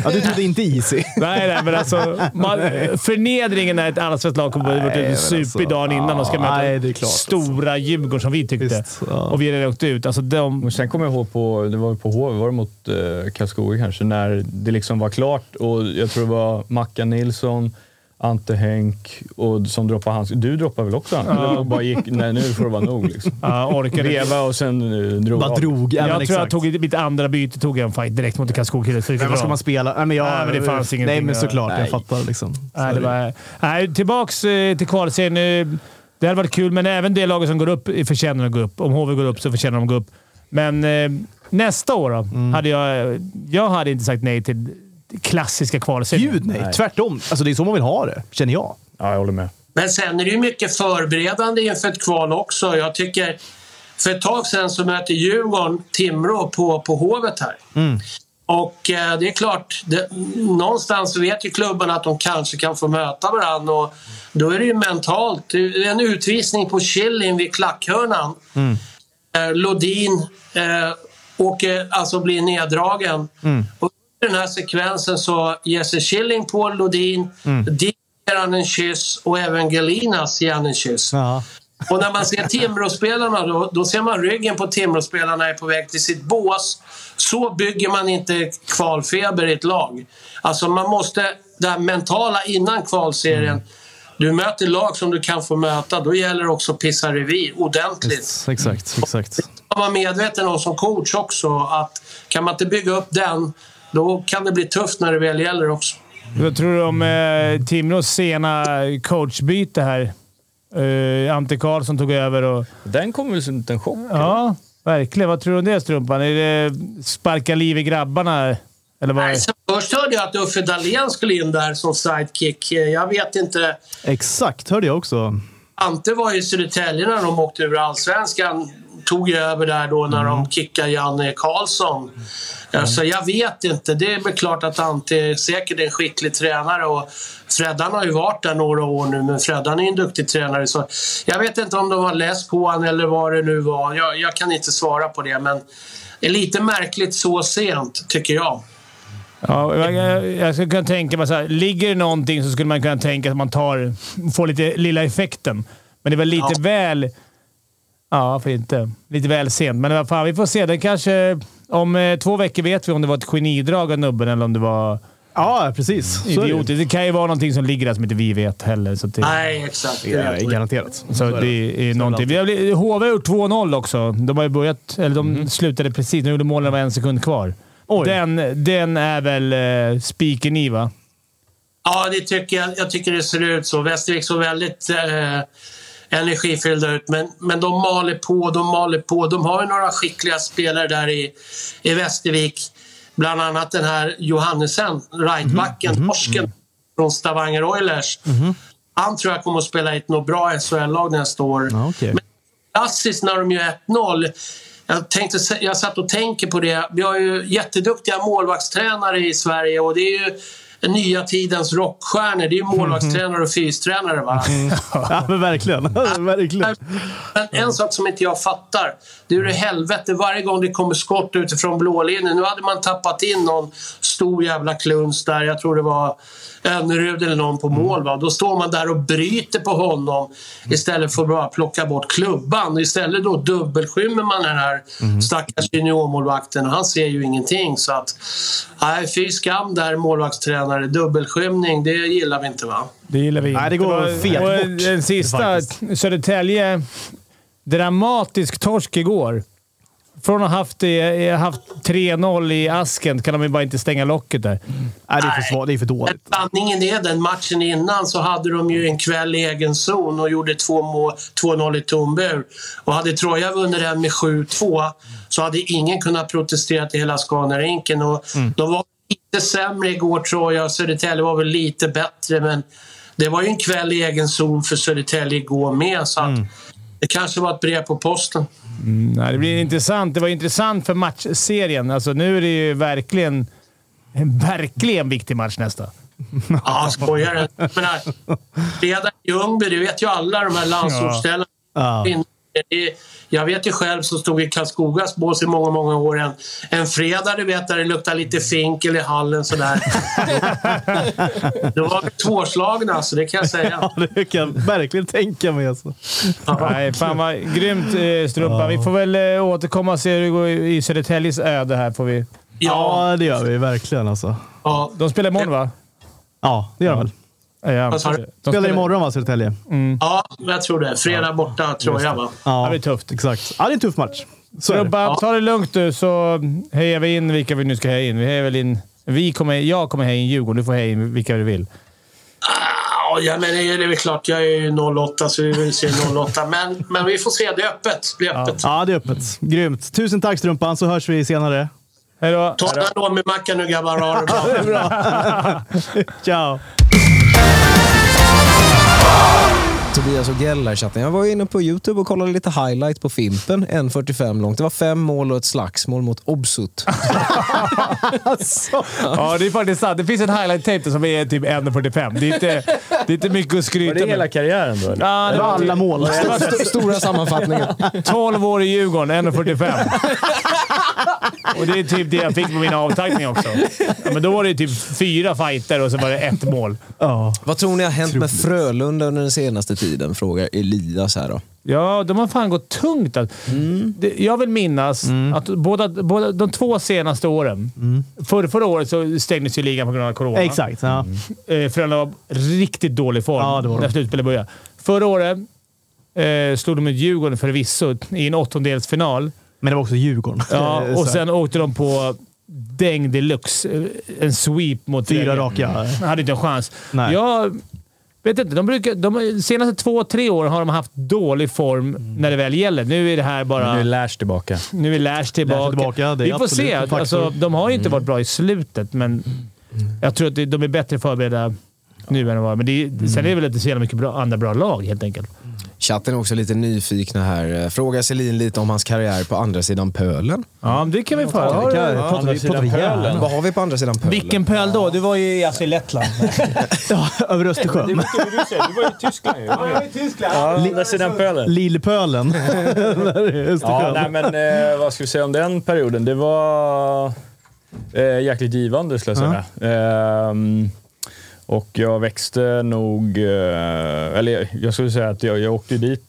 Speaker 1: Ja, du trodde inte Easy.
Speaker 2: nej, nej, men alltså, man, förnedringen när ett allsvenskt lag kommer att ha
Speaker 1: Nej, men
Speaker 2: varit super
Speaker 1: alltså,
Speaker 2: dagen innan och ska
Speaker 1: ja,
Speaker 2: möta
Speaker 1: nej, det är klart, alltså.
Speaker 2: stora Djurgården som vi tyckte.
Speaker 1: Visst, ja.
Speaker 2: Och vi redan åkt ut. Alltså, de,
Speaker 3: Och sen kommer jag ihåg på, det var på HV, var det mot eh, Karlskoga kanske, när det liksom var klart och jag tror det var Mackan Nilsson, Ante Henk och som droppade handsken. Du droppade väl också handsken? Ja. bara gick, nej nu får det vara nog liksom.
Speaker 2: ja, ah, orkade
Speaker 3: Veva och sen eh, drog
Speaker 1: Bara
Speaker 3: av.
Speaker 1: drog. Ja,
Speaker 2: Jag
Speaker 1: men
Speaker 2: tror
Speaker 1: exakt.
Speaker 2: jag tog mitt andra byte tog jag en fight direkt mot Karlskoga.
Speaker 1: Men vad ska man spela? Nej, men, jag,
Speaker 2: Nej, men det fanns ingenting
Speaker 1: Nej, men
Speaker 2: att-
Speaker 1: såklart.
Speaker 3: Nej.
Speaker 1: Jag fattar liksom.
Speaker 2: Nej, det var, nej, tillbaks eh, till kvalserien. Eh, Det hade varit kul, men även det laget som går upp eh, förtjänar att gå upp. Om HV går upp så förtjänar de att gå upp. Men eh, nästa år då,
Speaker 1: Mm.
Speaker 2: hade jag, jag hade inte sagt nej till klassiska kvalserien.
Speaker 1: Gud nej. Tvärtom. Alltså, det är så man vill ha det, känner jag.
Speaker 3: Ja, jag håller med.
Speaker 6: Men sen är det ju mycket förberedande inför ett kval också. Jag tycker, för ett tag sedan så möter Djurgården Timrå på, på Hovet här. Och eh, det är klart, det, någonstans vet ju klubbarna att de kanske kan få möta varandra och då är det ju mentalt. Det är En utvisning på Killing vid klackhörnan. Eh, Lodin eh, åker, alltså blir neddragen. Och i den här sekvensen så ger sig Killing på Lodin. Dick ger han en kyss och även Galinas ger han en kyss.
Speaker 1: Ja.
Speaker 6: Och när man ser Timråspelarna då, då ser man ryggen på Timråspelarna är på väg till sitt bås. Så bygger man inte kvalfeber i ett lag. Alltså man måste, det här mentala innan kvalserien. Du möter lag som du kan få möta, då gäller det också att pissa revir ordentligt.
Speaker 1: Exakt, exakt.
Speaker 6: Man vara medveten om som coach också att kan man inte bygga upp den, då kan det bli tufft när det väl gäller också.
Speaker 2: Vad tror du om eh, Timrås sena coachbyte här? Eh, Ante Karlsson tog över och...
Speaker 3: Den kom väl som en liten chock?
Speaker 2: Ja, verkligen. Vad tror du om det, Strumpan? Är det sparka liv i grabbarna? Eller vad?
Speaker 6: Nej, sen först hörde jag att Uffe Dahlén skulle in där som sidekick. Jag vet inte.
Speaker 1: Exakt, hörde jag också.
Speaker 6: Ante var ju i Södertälje när de åkte ur allsvenskan. Tog ju över där då när de kickade Janne Karlsson. Så jag vet inte. Det är väl klart att Ante är säkert en skicklig tränare. Och Freddan har ju varit där några år nu, men Freddan är ju en duktig tränare. Så jag vet inte om de har läst på han eller vad det nu var. Jag, jag kan inte svara på det, men det är lite märkligt så sent, tycker jag.
Speaker 2: Ja, jag, jag, jag skulle kunna tänka mig så här, Ligger det någonting så skulle man kunna tänka att man tar, får lite lilla effekten. Men det var lite
Speaker 6: Ja.
Speaker 2: väl... Ja, varför inte? Lite väl sent. Men vad fan, vi får se. Det kanske... Om eh, två veckor vet vi om det var ett genidrag av nubben eller om det var
Speaker 1: Ja, precis. Så är det ju.
Speaker 2: idiotiskt. Det kan ju vara någonting som ligger där som inte vi vet heller. Så att det,
Speaker 6: Nej, exakt. Det är
Speaker 1: Ja,
Speaker 6: helt rätt.
Speaker 1: garanterat.
Speaker 2: Så
Speaker 1: är
Speaker 2: det är någonting. Vi har, blivit- HV har gjort 2-0 också. De har ju börjat... Eller de slutade precis. De gjorde målen när det var en sekund kvar.
Speaker 1: Mhm. Oj.
Speaker 2: Den, den är väl eh, spiken i, va?
Speaker 6: Ja, det tycker jag, jag tycker det ser ut så. Västervik såg väldigt eh, energifyllda ut, men, men de maler på, de maler på. De har ju några skickliga spelare där i, i Västervik. Bland annat den här Johannesen, rightbacken, torsken från Stavanger Oilers. Han tror jag kommer att spela i ett något bra SHL-lag nästa år
Speaker 1: Ja, okej.
Speaker 6: klassiskt när de gör 1-0. Jag, tänkte, jag satt och tänker på det. Vi har ju jätteduktiga målvaktstränare i Sverige och det är ju nya tidens rockstjärnor. Det är ju målvaktstränare och fystränare. Va?
Speaker 1: Ja, men verkligen. verkligen.
Speaker 6: Men en sak som inte jag fattar. Det är ju det helvete varje gång det kommer skott utifrån blålinjen. Nu hade man tappat in någon stor jävla kluns där. Jag tror det var Önnerud eller någon på mål. Va? Då står man där och bryter på honom istället för att bara plocka bort klubban. Istället då dubbelskymmer man den här stackars juniormålvakten och han ser ju ingenting. Så att, nej, fy skam där målvaktstränare. Dubbelskymning, det gillar vi inte va?
Speaker 2: Det gillar vi
Speaker 1: Nej, det
Speaker 2: inte.
Speaker 1: går
Speaker 2: var-
Speaker 1: fet
Speaker 2: och
Speaker 1: bort,
Speaker 2: Den sista,
Speaker 1: faktiskt.
Speaker 2: Södertälje. Dramatisk torsk igår. Från att ha haft, eh, haft 3-0 i asken kan de ju bara inte stänga locket där.
Speaker 1: Nej, det är för svagt. Det är för
Speaker 6: Men
Speaker 1: dåligt.
Speaker 6: sanningen är den, matchen innan så hade de ju en kväll i egen zon och gjorde två mål- 2-0 i tombur. Och hade Troja vunnit den med 7-2 så hade ingen kunnat protestera till hela Scanarinken. Och De var lite sämre igår Troja och Södertälje var väl lite bättre men det var ju en kväll i egen zon för Södertälje igår med så att det kanske var ett brev på posten.
Speaker 2: Nej, det blir intressant. Det var intressant för matchserien. Alltså, nu är det ju verkligen en verkligen viktig match nästa.
Speaker 6: Ja, skojar du? Jag menar, Fredag i Ljungby, det vet ju alla de här landsortsställena.
Speaker 1: Ja.
Speaker 6: Det- Jag vet ju själv som stod i Karlskogas bås i många, många år. En, en fredag, du vet, där det luktar lite finkel i hallen sådär. Då var vi tvåslagna, alltså, det kan jag säga.
Speaker 1: Ja, det kan jag verkligen tänka mig. Alltså.
Speaker 2: Nej, fan vad grymt eh, Strumpan. Vi får väl eh, återkomma och se hur det går i i Södertäljes öde här. Får vi.
Speaker 6: Ja,
Speaker 1: Ja, det gör vi verkligen. Alltså.
Speaker 6: ja.
Speaker 2: De spelar imorgon, va?
Speaker 1: Ja, det gör de väl.
Speaker 2: Ja, ja.
Speaker 6: Vad sa du?
Speaker 2: De
Speaker 1: Spelar imorgon, va, Södertälje?
Speaker 6: ja jag tror det. Fredag borta, tror jag. Va?
Speaker 1: Ja,
Speaker 2: det blir tufft.
Speaker 1: Exakt. Ja, det är en tuff match. Så är det.
Speaker 2: Strumpan, ta det lugnt du så hejar vi in vilka vi nu ska heja in. Vi hejar väl in... Vi kommer, jag kommer heja in Djurgården. Du får heja in vilka du vill.
Speaker 6: Ja, ja, men det är det är väl klart. Jag är ju 08, så vi vill se 08. Men, men vi får se. Det är öppet. Det är öppet.
Speaker 1: Ja, det är öppet. Grymt. Tusen tack, Strumpan, så hörs vi senare.
Speaker 2: Hej då!
Speaker 6: Ta en Alomi-macka nu, grabbar. Ha det bra.
Speaker 1: Ciao!
Speaker 4: Tobias och Geller i chatten. Jag var ju inne på YouTube och kollade lite highlight på Fimpen. 1.45 långt. Det var fem mål och ett slagsmål mot Obsut.
Speaker 2: Ja, det är faktiskt sant. Det finns en highlight-tape som är typ 1.45. Det är inte, det är inte mycket att
Speaker 3: Var
Speaker 2: skryta
Speaker 3: det hela
Speaker 2: med.
Speaker 3: karriären då? Eller?
Speaker 2: Ja, det
Speaker 1: Det var
Speaker 2: var
Speaker 1: alla mål.
Speaker 4: St- Stora sammanfattningen.
Speaker 2: 12 år i Djurgården, 1.45. Och det är typ det jag fick på min avtackning också. Ja, men då var det typ fyra fighter och så var det ett mål.
Speaker 1: Ja.
Speaker 4: Vad tror ni har hänt med Frölunda under den senaste tiden? Frågar Elias här då.
Speaker 2: Ja, de har fan gått tungt. Att,
Speaker 1: Mm.
Speaker 2: det, jag vill minnas att båda, båda de två senaste åren... För, förra året så stängdes ju ligan på grund av corona.
Speaker 1: Mm. Exakt. Ja.
Speaker 2: Eh, Frölunda var riktigt dålig form
Speaker 1: Ja, det var de.
Speaker 2: när slutspelet började. Förra året eh, slog de ut Djurgården förvisso i en åttondelsfinal.
Speaker 1: Men det var också Djurgården.
Speaker 2: Ja, och
Speaker 1: Eh, Så här.
Speaker 2: sen åkte de på däng deluxe. eh, En sweep mot...
Speaker 1: Fyra
Speaker 2: Rögle.
Speaker 1: raka.
Speaker 2: Hade inte en chans.
Speaker 1: Nej.
Speaker 2: Jag vet inte. De, brukar, de senaste två, tre åren har de haft dålig form
Speaker 1: Mm.
Speaker 2: när det väl gäller. Nu är det här bara...
Speaker 3: Nu är Lash tillbaka.
Speaker 2: Nu är Lash tillbaka.
Speaker 1: Lash är tillbaka, det är
Speaker 2: Vi får
Speaker 1: absolut
Speaker 2: se.
Speaker 1: en faktor. Mm.
Speaker 2: Alltså, de har ju inte varit bra i slutet, men jag tror att de- de är bättre förberedda nu än de var. Men det,
Speaker 1: Mm.
Speaker 2: är- sen är det väl inte så jävla mycket bra, andra bra lag helt enkelt.
Speaker 4: Chatten är också lite nyfikna här. Frågar Selin lite om hans karriär på andra sidan pölen.
Speaker 2: Ja, men det kan vi få höra.
Speaker 1: Det kan-
Speaker 2: Har du-
Speaker 1: pratar vi- pratar vi gärna.
Speaker 4: Vad har vi på andra sidan pölen?
Speaker 2: Vilken pöl då? Du var ju alltså i Lettland.
Speaker 1: Ja, över Östersjön.
Speaker 3: Du var ju i Tyskland ju. Ja, andra sidan pölen.
Speaker 1: Lillpölen. Där är Östersjön.
Speaker 3: Ja, nej, men eh, vad ska vi säga om den perioden? Det var... eh, jäkligt givande skulle jag säga. Ehm, och jag växte nog... Eh, eller jag skulle säga att jag, jag åkte dit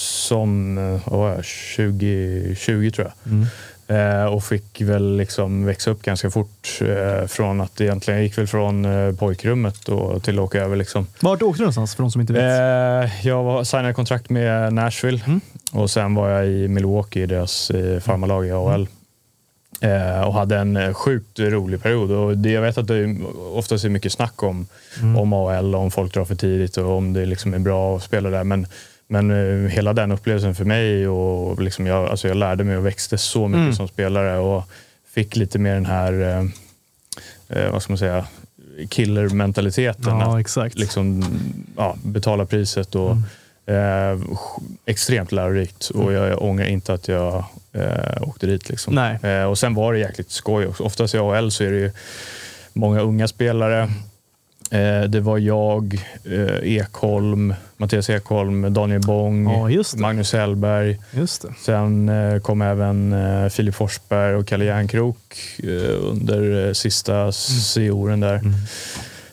Speaker 3: som eh, vad var jag, 20, 20 tror jag. Eh, och fick väl liksom växa upp ganska fort. Eh, från att egentligen, jag gick väl från eh, pojkrummet då, till att åka över liksom.
Speaker 1: Vart åkte du någonstans för de som inte vet? Mm.
Speaker 3: Eh, jag var, signade kontrakt med Nashville och sen var jag i Milwaukee, i deras eh, farmarlag i AHL.
Speaker 1: Mm.
Speaker 3: Eh, och hade en eh, sjukt rolig period. Och det, jag vet att det är oftast är mycket snack om,
Speaker 1: Mm.
Speaker 3: om AHL, om folk drar för tidigt och om det liksom är bra att spela där. Men, men eh, hela den upplevelsen för mig och liksom jag, alltså jag lärde mig och växte så mycket
Speaker 1: Mm.
Speaker 3: som spelare och fick lite mer den här, eh, eh, vad ska man säga, killermentaliteten.
Speaker 1: Ja,
Speaker 3: Att
Speaker 1: exakt. Mm.
Speaker 3: liksom, ja, betala priset. Och, eh, extremt lärorikt och jag, jag ångrar inte att jag eh, åkte dit. Liksom.
Speaker 1: Nej.
Speaker 3: Eh, och sen var det jäkligt skoj också. Oftast i AHL så är det ju många unga spelare. Eh, det var jag, eh, Ekholm, Mattias Ekholm, Daniel Bång,
Speaker 1: Ja, just det.
Speaker 3: Magnus Hellberg.
Speaker 1: Just det.
Speaker 3: Sen eh, kom även eh, Filip Forsberg och Kalle Järnkrok eh, under eh, sista C-åren där.
Speaker 1: Mm.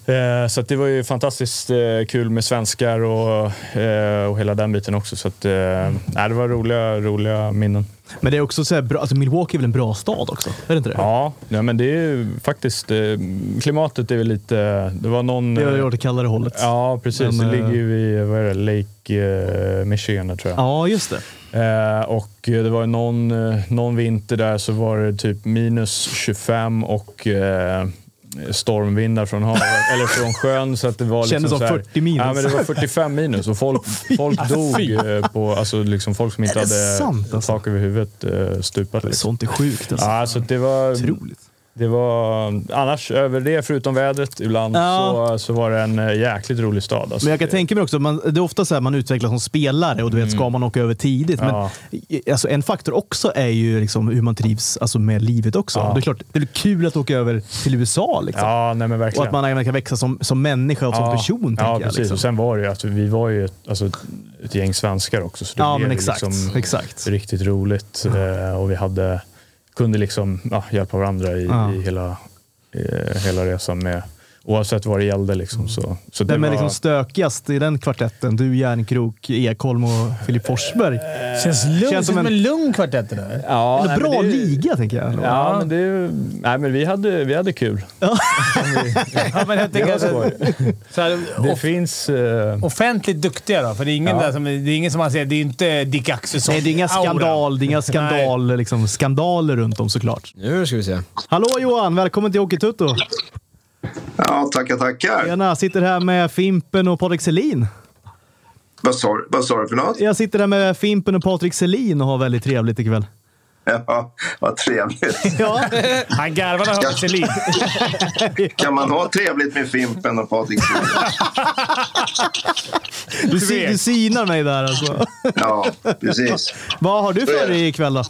Speaker 3: Eh, så att det var ju fantastiskt eh, kul med svenskar och, eh, och hela den biten också. Så att, eh, nej, det var roliga, roliga minnen.
Speaker 1: Men det är också så här bra, alltså Milwaukee är väl en bra stad också? Är det inte det?
Speaker 3: Ja, ja men det är ju faktiskt... Eh, klimatet är väl lite... Det var någon... eh,
Speaker 1: Det är åt det kallare hållet.
Speaker 3: Ja, precis.
Speaker 1: Men,
Speaker 3: det
Speaker 1: eh,
Speaker 3: ligger ju vid vad är det, Lake eh, Michigan, tror jag.
Speaker 1: Ja, just det.
Speaker 3: Eh, och eh, det var någon, eh, någon vinter där så var det typ minus 25 och eh, stormvindar från havet, eller från sjön. Så att det var
Speaker 1: Kändes
Speaker 3: liksom
Speaker 1: som
Speaker 3: så här,
Speaker 1: 40 minus. alltså,
Speaker 3: Ja, men det var 45 minus och folk, folk dog eh, på, alltså liksom folk som inte
Speaker 1: Är det
Speaker 3: hade
Speaker 1: sant, alltså?
Speaker 3: tak över huvudet eh, stupat. Liksom.
Speaker 1: Sånt är sjukt alltså.
Speaker 3: Ja, så att det var,
Speaker 1: Otroligt.
Speaker 3: det var, eh, annars över det, förutom vädret ibland,
Speaker 1: Ja.
Speaker 3: så, så var det en eh, jäkligt rolig stad. Alltså.
Speaker 1: Men jag kan tänka mig också, man, det är ofta så här man utvecklas som spelare och du vet, ska man åka över tidigt?
Speaker 3: Ja.
Speaker 1: Men i- alltså, en faktor också är ju liksom hur man trivs alltså, med livet också.
Speaker 3: Ja.
Speaker 1: Det är klart, det är kul att åka över till USA liksom.
Speaker 3: Ja, nej men verkligen.
Speaker 1: Och att man även kan växa som, som människa och som person.
Speaker 3: Ja,
Speaker 1: tänker
Speaker 3: precis.
Speaker 1: Jag, liksom.
Speaker 3: Och sen var det ju att vi var ju ett, alltså, ett- ett gäng svenskar också. Så det
Speaker 1: Ja,
Speaker 3: blev
Speaker 1: men
Speaker 3: ju
Speaker 1: exakt.
Speaker 3: Liksom
Speaker 1: exakt.
Speaker 3: Riktigt roligt. Eh, och vi hade, kunde liksom ja, hjälpa varandra i,
Speaker 1: Ja.
Speaker 3: i hela, eh, hela resan med Oavsett vad det gällde. Liksom, så, så det
Speaker 1: Vem är
Speaker 3: var,
Speaker 1: liksom stökigast i den kvartetten? Du, Järnkrok, Ekholm och Filip Forsberg.
Speaker 2: Känns, lugn,
Speaker 1: Känns
Speaker 2: Eh, känns
Speaker 1: som
Speaker 2: som
Speaker 1: en-
Speaker 2: en lugn kvartett det där.
Speaker 3: ja,
Speaker 1: en
Speaker 3: nej, men
Speaker 1: bra
Speaker 3: det-
Speaker 1: liga, tänker jag.
Speaker 3: Ja, men, det, är ju- nej, men vi, hade, vi hade kul.
Speaker 2: Ja, men jag
Speaker 3: Det
Speaker 2: tänker
Speaker 3: var
Speaker 2: alltså,
Speaker 3: skoj.
Speaker 2: så här,
Speaker 3: Det
Speaker 2: off-
Speaker 3: finns... Eh,
Speaker 2: offentligt duktiga då, för det är ingen,
Speaker 3: Ja.
Speaker 2: där som, det är ingen som man ser. Det är inte Dick Axelsson
Speaker 1: Nej, det är inga skandal, det är inga skandal, liksom, skandaler runt om såklart.
Speaker 4: Nu ska vi se.
Speaker 1: Hallå Johan! Välkommen till Hockeytutto!
Speaker 7: Ja, tackar, tackar.
Speaker 1: Tjena! Sitter här med Fimpen och Patrik Selin.
Speaker 7: Vad sa du- vad sa du för något?
Speaker 1: Jag sitter här med Fimpen och Patrik Selin och har väldigt trevligt ikväll.
Speaker 7: Ja, vad trevligt.
Speaker 1: Ja,
Speaker 2: Han garvar när han hör Selin.
Speaker 7: Kan man ha trevligt med Fimpen och Patrik Sundin?
Speaker 1: du, si- du sinar mig där alltså.
Speaker 7: Ja, precis.
Speaker 1: Vad har du för dig ikväll då?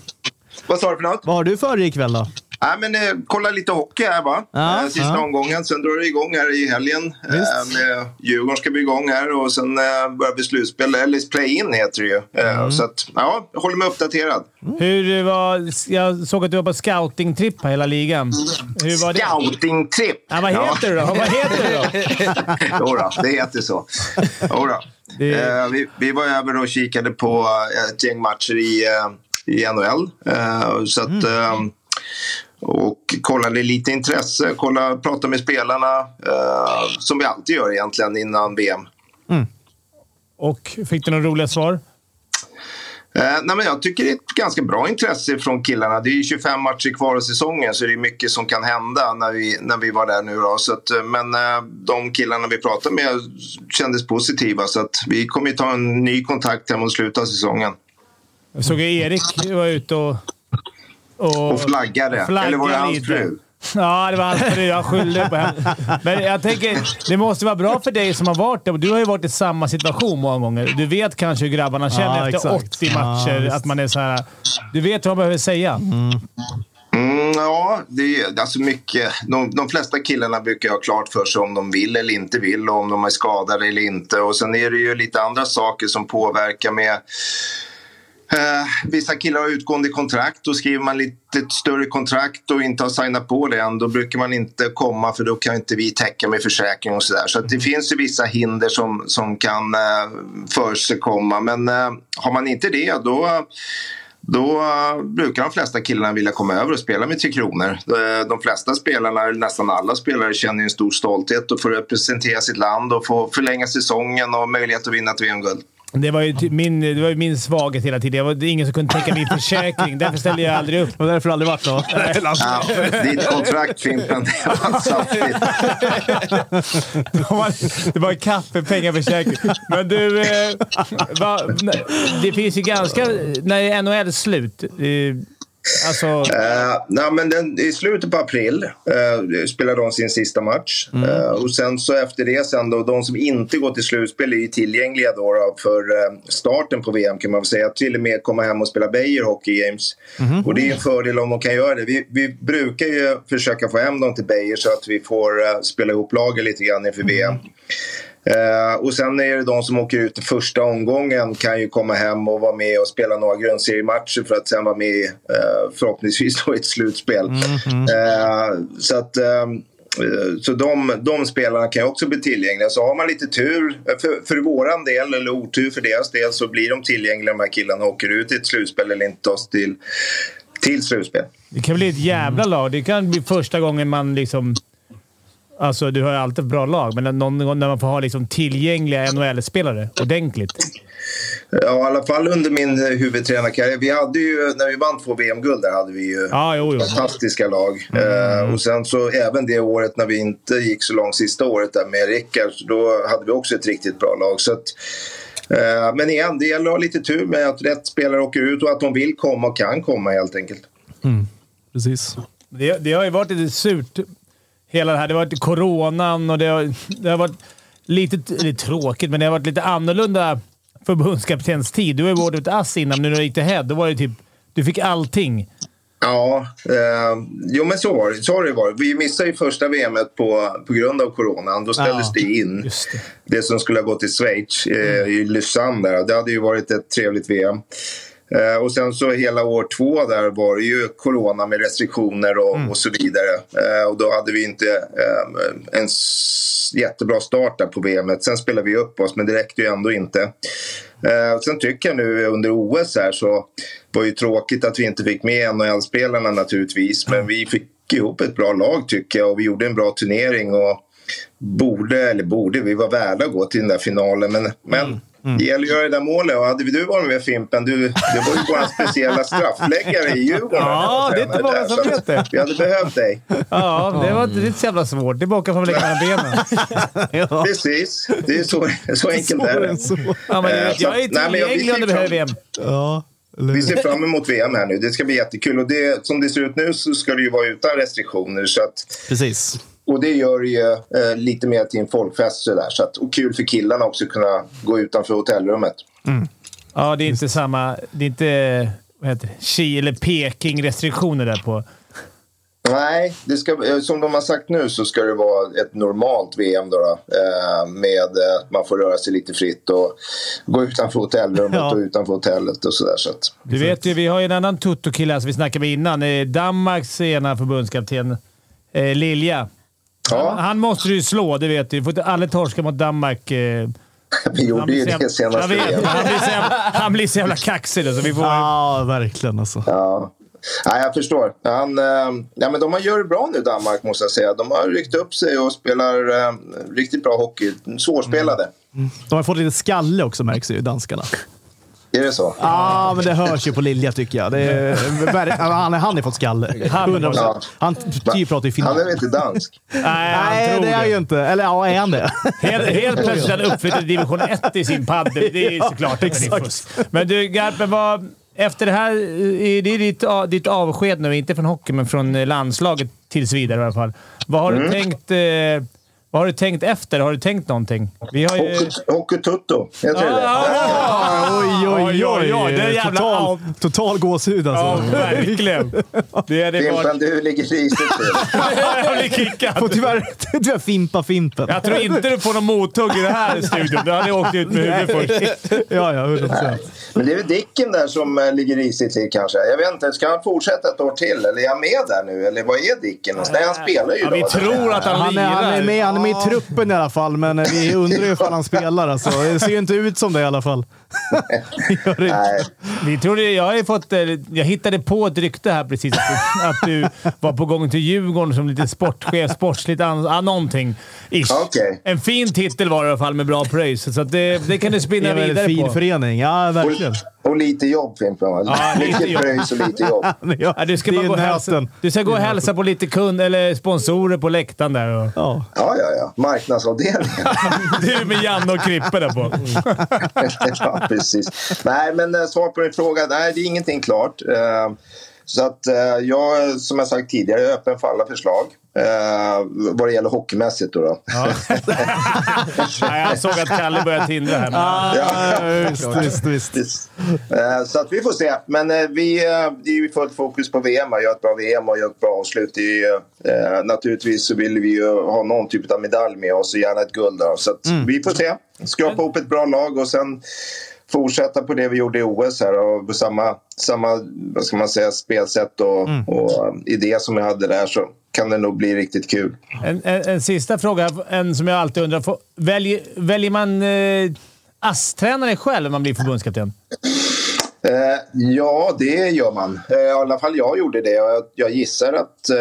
Speaker 7: Vad sa du för något?
Speaker 1: Vad har du för dig ikväll då?
Speaker 7: Nej, men, eh, kolla lite hockey här, va?
Speaker 1: Ja,
Speaker 7: eh, sista
Speaker 1: ja.
Speaker 7: omgången. Sen drar det igång här i helgen. Eh, med Djurgården ska bli igång här och sen eh, börjar vi slutspel. Eller play-in heter det ju. Eh, Så att, ja, jag håller mig uppdaterad.
Speaker 2: Hur det var, jag såg att du var på scoutingtripp här hela ligan. Hur var det?
Speaker 7: Scouting-tripp!
Speaker 2: Ja, vad heter du då? Vad heter du då?
Speaker 7: Jodå, det heter så. Jodå. Eh, vi, vi var över och kikade på eh, ett gäng matcher i, eh, i NHL. Eh, så att, eh, och kollade lite intresse, kollade, pratade med spelarna eh, som vi alltid gör egentligen innan VM.
Speaker 2: Och fick du några roliga svar?
Speaker 7: Eh, nej men jag tycker det är ett ganska bra intresse från killarna. Det är ju 25 matcher kvar av säsongen så det är mycket som kan hända när vi, när vi var där nu. Då. Så att, eh, men eh, de killarna vi pratade med kändes positiva så att vi kommer ju ta en ny kontakt här mot slutet av säsongen.
Speaker 2: Jag såg att Erik var ute och...
Speaker 7: Och flaggade.
Speaker 2: Flagga
Speaker 7: Eller var det hans
Speaker 2: lite.
Speaker 7: fru?
Speaker 2: Ja, det var hans fru. Jag skyllde på henne. Men jag tänker, det måste vara bra för dig som har varit där. Du har ju varit i samma situation många gånger. Du vet kanske hur grabbarna känner
Speaker 1: Ja,
Speaker 2: efter
Speaker 1: exakt.
Speaker 2: 80 matcher.
Speaker 1: Ja,
Speaker 2: att man är så här. Du vet vad man behöver säga.
Speaker 7: Mm, ja, det är alltså mycket. De, de flesta killarna brukar ha klart för sig om de vill eller inte vill och om de är skadade eller inte. Och sen är det ju lite andra saker som påverkar med Eh, vissa killar har utgående kontrakt och skriver man lite större kontrakt och inte har signat på det än då brukar man inte komma för då kan inte vi täcka med försäkring och sådär. Så att det finns ju vissa hinder som, som kan eh, förekomma men eh, har man inte det då då eh, brukar de flesta killarna vilja komma över och spela med Tre Kronor. Eh, De flesta spelarna, eller nästan alla spelare, känner ju en stor stolthet och får representera sitt land och få förlänga säsongen och möjlighet att vinna ett VM-guld.
Speaker 2: Det var ju ty- min, det var ju min svaghet hela tiden. Jag var, det är ingen som kunde täcka min försäkring. Därför ställde jag aldrig upp.
Speaker 1: Det var därför det aldrig varit något.
Speaker 7: Ja, ditt kontrakt Fimpen, det alltså var saftigt.
Speaker 2: Det var- Det var kaffepengar för käken. Men du, eh, va, det finns ju ganska... När NHL är slut. Eh, alltså,
Speaker 7: Eh, nej, men den, I slutet på april eh, spelade de sin sista match. Eh, och sen så efter det, sen då, de som inte går till slutspel är ju tillgängliga då, då för eh, starten på VM kan man väl säga. Till och med komma hem och spela Beijer Hockey Games. Och det är en fördel om de kan göra det. Vi, vi brukar ju försöka få hem dem till Beijer så att vi får eh, spela ihop laget lite grann inför VM. Eh, och sen är det de som åker ut i första omgången kan ju komma hem och vara med och spela några grundseriematcher för att sen vara med i, eh, förhoppningsvis då i ett slutspel. Eh, så att ehm, eh, så de, de spelarna kan ju också bli tillgängliga. Så har man lite tur, eh, för, för våran del eller otur för deras del, så blir de tillgängliga de här killarna och åker ut i ett slutspel eller inte oss till, till slutspel.
Speaker 2: det kan bli ett jävla lag. Det kan bli första gången man liksom... Alltså, du har ju alltid ett bra lag, men någon gång när man får ha liksom tillgängliga NHL-spelare ordentligt.
Speaker 7: Ja, i alla fall under min eh, huvudtränarkarriär. Vi hade ju, när vi vann två VM-guld där hade vi ju
Speaker 2: Ja, jo, jo.
Speaker 7: fantastiska lag.
Speaker 2: Mm.
Speaker 7: Eh, och sen så även det året när vi inte gick så långt, sista året där med Rickard, så då hade vi också ett riktigt bra lag. Så att, eh, men igen, det gäller att ha lite tur med att rätt spelare åker ut och att de vill komma och kan komma helt enkelt.
Speaker 1: Precis.
Speaker 2: Det, det har ju varit lite surt, hela det här. Det har varit coronan och det har, det har varit lite, lite tråkigt, men det har varit lite annorlunda förbundskaptenens tid. Du har ju varit ett ass innan, men när du gick till head, då var det typ... Du fick allting.
Speaker 7: Ja, eh, jo men så var det. Så har det varit. Vi missade ju första VMet på, på grund av coronan. Då ställdes
Speaker 2: Ja,
Speaker 7: det in.
Speaker 2: just det.
Speaker 7: som skulle ha gått till Schweiz, eh, i Lysanne. där. Det hade ju varit ett trevligt VM. Eh, och sen så hela år två där var det ju corona med restriktioner och, och så vidare. Eh, och då hade vi inte eh, en s- jättebra start där på VMet. Sen spelade vi upp oss, men det räckte ju ändå inte. Eh, sen tycker jag nu under OS här så var ju tråkigt att vi inte fick med NHL-spelarna naturligtvis. Men vi fick ihop ett bra lag tycker jag och vi gjorde en bra turnering. Och borde, eller borde, vi var värda att gå till den där finalen. Men, men
Speaker 2: Mm,
Speaker 7: det gäller att göra det där målet. Och hade du varit med Fimpen, du, du var ju vår speciella straffläggare i Djurgården.
Speaker 2: Ja, det är inte många som
Speaker 7: Så
Speaker 2: vet det.
Speaker 7: Vi hade behövt dig.
Speaker 2: Ja, det var inte det är inte så jävla svårt. Det är bara att åka fram och lägga mellan benen.
Speaker 7: Precis, det är så, så enkelt är det.
Speaker 2: Ja, men, du vet, jag är
Speaker 7: Nej, men jag
Speaker 2: tillgänglig om du
Speaker 7: fick
Speaker 2: behöver
Speaker 7: fram-
Speaker 2: VM.
Speaker 1: Ja, eller
Speaker 7: Vi
Speaker 1: hur?
Speaker 7: ser fram emot VM här nu. Det ska bli jättekul. Och det, som det ser ut nu så ska det ju vara utan restriktioner. Så att,
Speaker 1: Precis.
Speaker 7: och det gör det ju eh, lite mer till en folkfest. Så där, så att, och kul för killarna också att kunna gå utanför hotellrummet.
Speaker 2: Ja, det är inte samma... Det är inte... Vad heter det? Chi eller Peking-restriktioner där på.
Speaker 7: Nej, det ska, eh, som de har sagt nu så ska det vara ett normalt VM då, då eh, med eh, att man får röra sig lite fritt och gå utanför hotellrummet
Speaker 1: Ja.
Speaker 7: och utanför hotellet och sådär. Så att,
Speaker 2: Du vet ju, vi har ju en annan tuttokille här som vi snackade med innan. Eh, Danmarks ena förbundskapten, eh, Lilja.
Speaker 7: ja,
Speaker 2: Han måste du ju slå, det vet du. Du får inte aldrig torska mot Danmark. eh.
Speaker 7: vi
Speaker 2: Han
Speaker 7: gjorde
Speaker 2: blir
Speaker 7: ju
Speaker 2: så jävla-
Speaker 7: det
Speaker 2: Jag
Speaker 7: senaste
Speaker 2: vet.
Speaker 7: VM.
Speaker 2: Han blir så jävla- Han blir så jävla kaxig. då, Så vi får...
Speaker 1: Ja, verkligen alltså.
Speaker 7: Ja. Nej, jag förstår. Han, eh, ja, men de har gör det bra nu, Danmark, måste jag säga. De har ryckt upp sig och spelar eh, riktigt bra hockey. Svårspelade.
Speaker 1: Mm. De har fått lite skalle också märks ju, danskarna.
Speaker 7: Är det så?
Speaker 1: Ja, men det hörs ju på Lilja tycker jag. Det är, ver- han, han har fått skalle. 100%.
Speaker 7: Ja.
Speaker 1: Han typ pratar ju
Speaker 7: Han är väl
Speaker 1: finland.
Speaker 7: inte dansk?
Speaker 2: Nej, han
Speaker 1: Nej,
Speaker 2: tror
Speaker 1: det är han ju inte. Eller ja, är han det?
Speaker 2: Helt, helt plötsligt är han uppflyttad till division 1 i sin padel. Det är ju
Speaker 1: Ja,
Speaker 2: såklart att det är
Speaker 1: exakt.
Speaker 2: fusk. Men du, Garpen, vad, efter det här... eh, Det är ditt, a- ditt avsked
Speaker 1: Mm.
Speaker 2: nu, inte från hockey, men från eh, landslaget tills vidare i alla fall. Vad har du tänkt... Eh, Vad har du tänkt efter? Har du tänkt någonting? Vi
Speaker 1: Eh.
Speaker 2: har ju...
Speaker 7: Hockeytutto heter det.
Speaker 1: Oj, oj, oj.
Speaker 2: Det är jävla...
Speaker 1: total, total gåshud
Speaker 2: Ja,
Speaker 1: alltså.
Speaker 2: verkligen. Det hade
Speaker 7: Fimpen,
Speaker 2: varit...
Speaker 7: du ligger risigt till.
Speaker 2: Jag blir
Speaker 1: Får
Speaker 2: kickad.
Speaker 1: tyvärr, tyvärr fimpa fimpen.
Speaker 2: Jag tror inte du får någon mothugg i det här studion. Du hade jag åkt ut med huvudet först.
Speaker 1: Ja, ja, 100 procent.
Speaker 7: Men det är väl Dicken där som eh, ligger risigt till kanske. Jag vet inte, ska han fortsätta ett år till? Eller är han med där nu? Eller vad är Dicken? någonstans? Nej, han spelar
Speaker 2: Eh,
Speaker 7: ju
Speaker 2: Ja, vi
Speaker 7: då.
Speaker 2: tror att han
Speaker 1: Han är, han, är
Speaker 2: lirar.
Speaker 1: med, han är med i truppen i alla fall, men vi undrar ju ifall han spelar. Alltså. Det ser ju inte ut som det i alla fall. Gör det inte.
Speaker 7: Nej,
Speaker 2: Vi trodde, jag, har ju fått, eh, jag hittade på ett rykte här precis. Att du, att du var på gång till Djurgården som lite sportchef, sportsligt an, ah, någonting. Ish.
Speaker 7: Okej.
Speaker 2: En fin titel var det i alla fall med bra pröjs. Så att det, det kan du
Speaker 1: Det
Speaker 2: spinna
Speaker 1: är väl en
Speaker 2: vidare
Speaker 1: fin
Speaker 2: på.
Speaker 1: förening. Ja, verkligen.
Speaker 7: och, och lite jobb Fimpen.
Speaker 2: Ja,
Speaker 7: va?
Speaker 2: lite
Speaker 7: Mycket
Speaker 2: jobb.
Speaker 7: pröjs och lite jobb.
Speaker 1: Ja,
Speaker 2: Ja, du, ska
Speaker 1: det
Speaker 2: bara
Speaker 1: är
Speaker 2: gå och hälsa,
Speaker 1: nöten.
Speaker 2: du ska gå och hälsa på lite kund eller sponsorer på läktaren där. Och,
Speaker 1: Ja.
Speaker 7: Ja, ja, ja. Marknadsavdelningen.
Speaker 2: du med Janne och Krippe där på.
Speaker 1: Mm.
Speaker 7: ja, precis. Nej, men eh, svar på din fråga. Nej, det är ingenting klart. Eh, Så att eh, jag, som jag sagt tidigare, är öppen för alla förslag. Eh, vad det gäller hockeymässigt då. då.
Speaker 2: Nej, jag såg att Kalle började tindra här.
Speaker 1: Ah,
Speaker 2: Men,
Speaker 1: Ja, visst, visst, visst.
Speaker 7: Precis. Eh, Så att vi får se. Men eh, vi eh, det är ju fullt fokus på VM. Jag gör ett bra VM och gör ett bra avslut. Det är ju, eh, naturligtvis så vill vi ju ha någon typ av medalj med oss och gärna ett guld. Då. Så att vi får se. Skrapa ihop ett bra lag och sen fortsätta på det vi gjorde i OS här och på samma, samma vad ska man säga, spelsätt och, och eh, idé som jag hade där så kan det nog bli riktigt kul.
Speaker 2: en, en, en sista fråga, en som jag alltid undrar. Får, väljer, väljer man eh, ASS-tränare själv när man blir förbundskapten?
Speaker 7: Eh, ja, det gör man. Eh, I alla fall jag gjorde det. Jag, jag gissar att eh,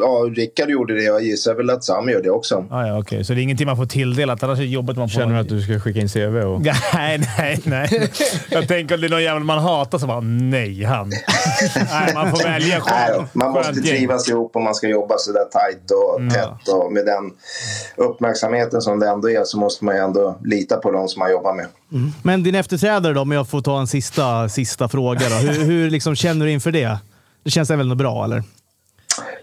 Speaker 7: ja, Rickard gjorde det. Jag gissar väl att Sam gör det också.
Speaker 2: Ah, ja, okej. Så det är ingenting man får tilldelat, annars är det jobbet man får.
Speaker 3: Känner du att du ska skicka in CV? Och...
Speaker 2: Nej, nej, nej. Jag tänker om det är någon jävel man hatar så bara nej, han. Nej, man får välja
Speaker 7: Nej,
Speaker 2: själv.
Speaker 7: då. Eh, man måste
Speaker 2: Skönt gäng. Mm.
Speaker 7: trivas ihop och man ska jobba så där tajt och tätt. Och med den uppmärksamheten som det ändå är så måste man ju ändå lita på de som man jobbar med.
Speaker 1: Men din efterträdare då, om jag får ta en sista, sista fråga. Då. Hur, hur liksom känner du inför det? Det känns väl ändå bra, eller?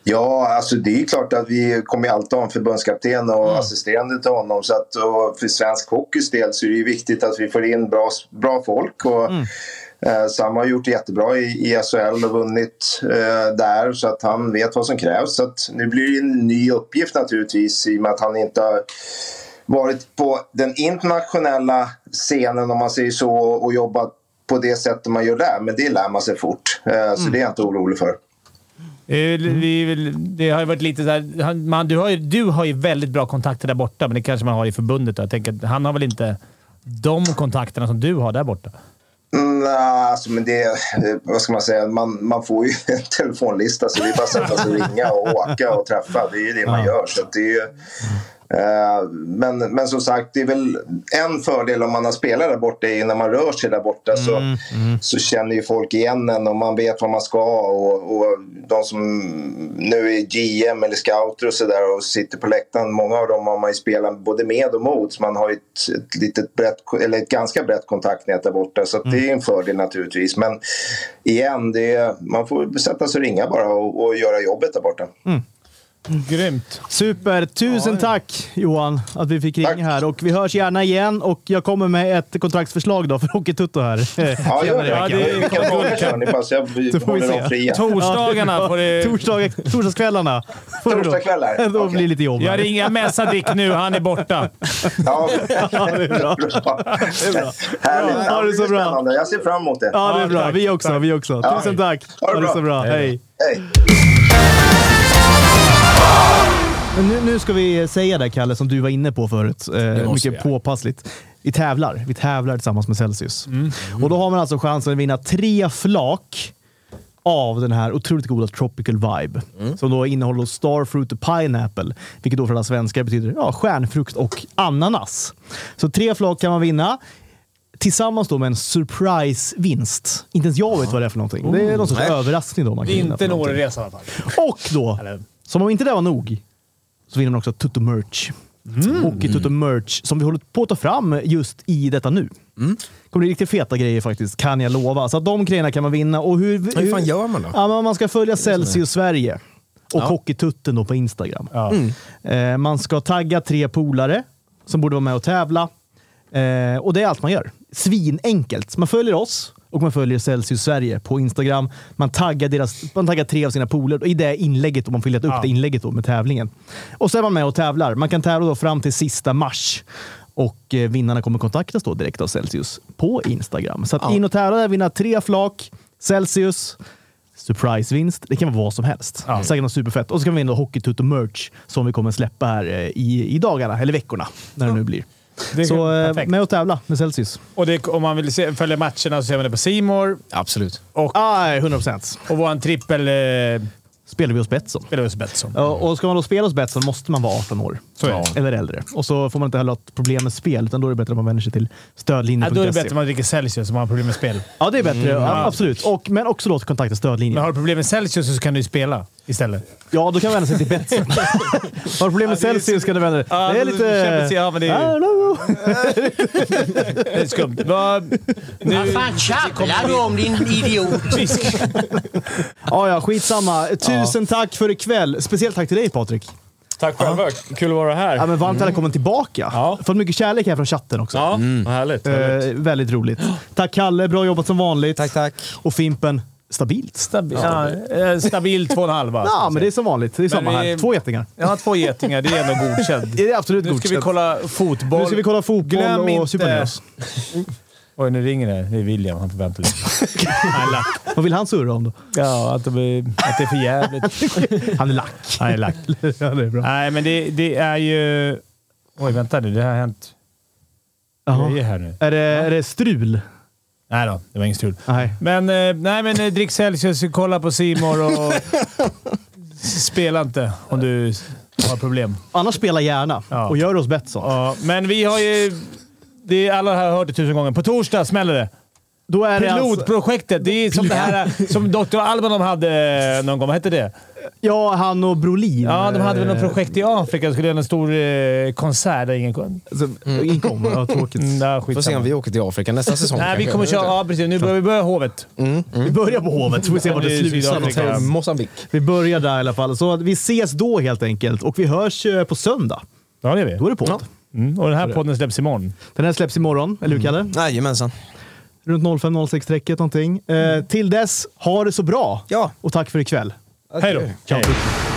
Speaker 7: Ja, alltså det är ju klart att vi kommer ju alltid ha en förbundskapten och assisterande till honom. Så att, och för svensk hockeys del så är det ju viktigt att vi får in bra, bra folk. Och, eh, Sam har gjort det jättebra i, i SHL och vunnit eh, där så att han vet vad som krävs. Så att, nu blir det en ny uppgift naturligtvis i och med att han inte har varit på den internationella scenen om man säger så och jobbat på det sättet man gör där. Men det lär man sig fort. Eh, så det är jag inte orolig för.
Speaker 2: Det är ju- det är väl- Det har ju varit lite såhär... han- Man, du, har ju, du har ju väldigt bra kontakter där borta, men det kanske man har i förbundet. Då. Jag tänker att han har väl inte de kontakterna som du har där borta?
Speaker 7: Mm, Nej, alltså, men det, eh, vad ska man säga, man, man får ju en telefonlista så det är bara att sätta sig och ringa och åka och träffa. Det är ju det man gör. Så att det är, ju, eh, men, men som sagt, det är väl en fördel om man har spelat där borta är ju när man rör sig där borta så, så känner ju folk igen en och man vet vad man ska. Och, och de som nu är GM eller scouter och sådär och sitter på läktaren, många av dem har man ju spelat både med och mot. Så man har ju ett, ett, litet brett, eller ett ganska brett kontaktnät där borta. Så att det
Speaker 1: Mm.
Speaker 7: är en fördel naturligtvis. Men igen, det är, man får sätta sig och ringa bara och, och göra jobbet där
Speaker 1: Mm.
Speaker 7: borta.
Speaker 2: Grymt!
Speaker 1: Super! Tusen tack Johan att vi fick ringa
Speaker 7: Tack.
Speaker 1: här och vi hörs gärna igen och jag kommer med ett kontraktsförslag då för Hockeytutto här.
Speaker 7: Ja,
Speaker 1: Senare i
Speaker 7: gör
Speaker 1: veckan.
Speaker 7: det. Vilka dagar kör ni? Fast jag
Speaker 1: Då får vi
Speaker 7: håller
Speaker 1: se.
Speaker 7: dem fria.
Speaker 2: Torsdagarna får du...
Speaker 1: Torsdag, torsdagskvällarna. får du då.
Speaker 7: Torsdagskvällar?
Speaker 1: Då
Speaker 7: Okej.
Speaker 1: blir det lite jobb. här.
Speaker 2: Jag ringer, jag messar Dick nu. Han är borta.
Speaker 7: Ja,
Speaker 1: Ja, det är bra.
Speaker 7: bra. Härligt.
Speaker 1: Bra. Ha det så bra.
Speaker 7: Spännande. Jag ser fram emot det.
Speaker 1: Ja, det är bra. Vi också. Vi också.
Speaker 7: Ja.
Speaker 1: Tusen tack!
Speaker 7: Ha det bra.
Speaker 1: så bra. Hej!
Speaker 7: Hej.
Speaker 1: Men nu, nu ska vi säga det Kalle, som du var inne på förut. Eh, mycket påpassligt. Vi tävlar. Vi tävlar tillsammans med Celsius. Och då har man alltså chansen att vinna tre flak av den här otroligt goda Tropical Vibe. Som då innehåller Starfruit och Pineapple, vilket då för alla svenskar betyder ja, stjärnfrukt och ananas. Så tre flak kan man vinna. Tillsammans då med en surprise-vinst. Inte ens jag vet vad det är för någonting. Det är någon sorts
Speaker 4: Nej.
Speaker 1: överraskning då man kan vinna.
Speaker 2: Inte
Speaker 1: för
Speaker 2: en
Speaker 1: någonting.
Speaker 2: Åreresa i alla fall.
Speaker 1: Och då,
Speaker 2: Eller-
Speaker 1: som om inte det var nog, så vinner man också Tutto Merch. Hockey Tutto Merch som vi håller på att ta fram just i detta nu. Det kommer bli riktigt feta grejer faktiskt, kan jag lova. Så att de grejerna kan man vinna. Och hur,
Speaker 4: fan gör man då?
Speaker 1: Ja, men man ska följa Celsius Sverige. Och Hockeytutten då på Instagram.
Speaker 2: Ja.
Speaker 1: Eh, man ska tagga tre polare som borde vara med och tävla. Eh, och det är allt man gör. Svinenkelt. Man följer oss och man följer Celsius Sverige på Instagram. Man taggar, deras, man taggar tre av sina polare i det inlägget och man får leta upp det inlägget då med tävlingen. Och så är man med och tävlar. Man kan tävla då fram till sista mars. Och eh, vinnarna kommer kontaktas då direkt av Celsius på Instagram. Så att in och tävla där, vinna tre flak Celsius. Surprise-vinst. Det kan vara vad som helst. Säkert något superfett. Och så kan vi vinna Hockeytutto-merch som vi kommer släppa här eh, i, i dagarna, eller veckorna, när det nu blir.
Speaker 2: Det är
Speaker 1: Så eh,
Speaker 2: perfekt.
Speaker 1: med och tävla med Celsius.
Speaker 2: Och det, om man vill se, följa matcherna så ser man det på C More
Speaker 4: Absolut.
Speaker 1: Ah, 100 procent.
Speaker 2: och vår trippel eh,
Speaker 1: Spelar vi hos Betsson.
Speaker 2: spelar hos Betsson.
Speaker 1: Ja, Och ska man då spela hos Betsson måste man vara 18 år.
Speaker 2: Så är det.
Speaker 1: Eller äldre. Och så får man inte heller ha ett problem med spel, utan då är det bättre att man vänder sig till
Speaker 2: Ja,
Speaker 1: stödlinjen.se.
Speaker 2: då är det bättre om man dricker Celsius om man har problem med spel.
Speaker 1: E. Ja, det är bättre. Ja, absolut. Och, men också då att kontakta
Speaker 2: Men
Speaker 1: stödlinjen.
Speaker 2: har du problem med Celsius så kan du ju spela istället.
Speaker 1: Ja, då kan man vända sig till Betsson. Har du problem med
Speaker 2: Ja, det är
Speaker 1: Celsius kan du vända dig.
Speaker 2: Ja,
Speaker 1: det är
Speaker 2: då
Speaker 1: lite...
Speaker 2: känner sig- ja, men det är-
Speaker 1: Hello.
Speaker 2: Det är skumt. Vad-
Speaker 6: Vad
Speaker 2: Nu,
Speaker 6: fan tjabblar du om din idiot?
Speaker 1: Ja, ja, skitsamma. Tusen tack för ikväll. Speciellt tack till dig Patrik.
Speaker 3: Tack själva. Kul att vara här.
Speaker 1: Ja, men varmt välkommen tillbaka.
Speaker 3: Ja.
Speaker 1: Fått mycket kärlek här från chatten också.
Speaker 3: Ja, vad härligt. härligt.
Speaker 1: Eh, väldigt roligt. Tack Kalle, bra jobbat som vanligt.
Speaker 4: Tack, tack.
Speaker 1: Och Fimpen, stabilt.
Speaker 2: stabil, ja, eh, stabil två och en halva.
Speaker 1: Ja, men det är som vanligt. Det är samma
Speaker 2: vi-
Speaker 1: här. Två getingar.
Speaker 2: Jag har två getingar. Det är ändå godkänd.
Speaker 1: Det är absolut
Speaker 2: Nu ska vi
Speaker 1: godkänt.
Speaker 2: kolla fotboll.
Speaker 1: Nu ska vi kolla fotboll
Speaker 2: Glöm
Speaker 1: och
Speaker 2: inte-
Speaker 1: Supernyos.
Speaker 2: Oj, nu ringer det. Det är William. Han förväntar sig. Han är lack.
Speaker 1: Vad vill han surra om då?
Speaker 2: Ja, att det, blir, att det är för jävligt.
Speaker 1: Han är lack.
Speaker 2: Han är lack.
Speaker 1: ja, det är bra.
Speaker 2: Nej, men det, det är ju... Oj, vänta nu. Det har hänt
Speaker 1: Jaha.
Speaker 2: grejer här nu.
Speaker 1: Är, det, är det strul?
Speaker 2: Nej då, det var inget strul.
Speaker 1: Nej.
Speaker 2: Men, eh, nej, men eh, drick Celsius, kolla på Simor och... Spela inte om du har problem.
Speaker 1: Annars spela gärna
Speaker 2: Ja.
Speaker 1: och gör oss Betsson.
Speaker 2: Ja, men vi har ju... Det är, alla här har hört det tusen gånger. På torsdag smäller det.
Speaker 1: Då är det alltså,
Speaker 2: Pilotprojektet. Det är som det här eh, som Dr. Albanov hade eh, någon gång. Vad hette det?
Speaker 1: ja, han och Brolin.
Speaker 2: Ja, de hade väl något
Speaker 1: eh,
Speaker 2: projekt i Afrika. De skulle göra en stor eh, konsert där ingen kom.
Speaker 1: alltså, Ingen kommer. Ja, tråkigt.
Speaker 2: Mm, där,
Speaker 4: Får se om
Speaker 2: skitsamma.
Speaker 4: vi åker till Afrika nästa säsong.
Speaker 2: Nej, vi
Speaker 4: kanske.
Speaker 2: kommer köra... Ja, precis. Nu börjar vi börja hovet.
Speaker 1: Vi börjar på Hovet, så får vi se var
Speaker 2: Mm. Det
Speaker 1: det
Speaker 2: är
Speaker 1: slutar
Speaker 2: Sydafrika.
Speaker 1: någonstans.
Speaker 4: Mosambik.
Speaker 1: Vi börjar där i alla fall. Så att vi ses då helt enkelt. Och vi hörs eh, på söndag.
Speaker 2: Ja, det gör
Speaker 1: Då
Speaker 2: vi.
Speaker 1: är det podd.
Speaker 2: Mm, och den här podden släpps imorgon.
Speaker 1: Den här släpps imorgon, eller
Speaker 2: Mm.
Speaker 1: hur Kalle?
Speaker 4: Jajamensan.
Speaker 1: Runt 05-06-strecket någonting. Eh, till dess, ha det så bra!
Speaker 4: Ja.
Speaker 1: Och tack för ikväll.
Speaker 2: Hej då!
Speaker 1: Ciao.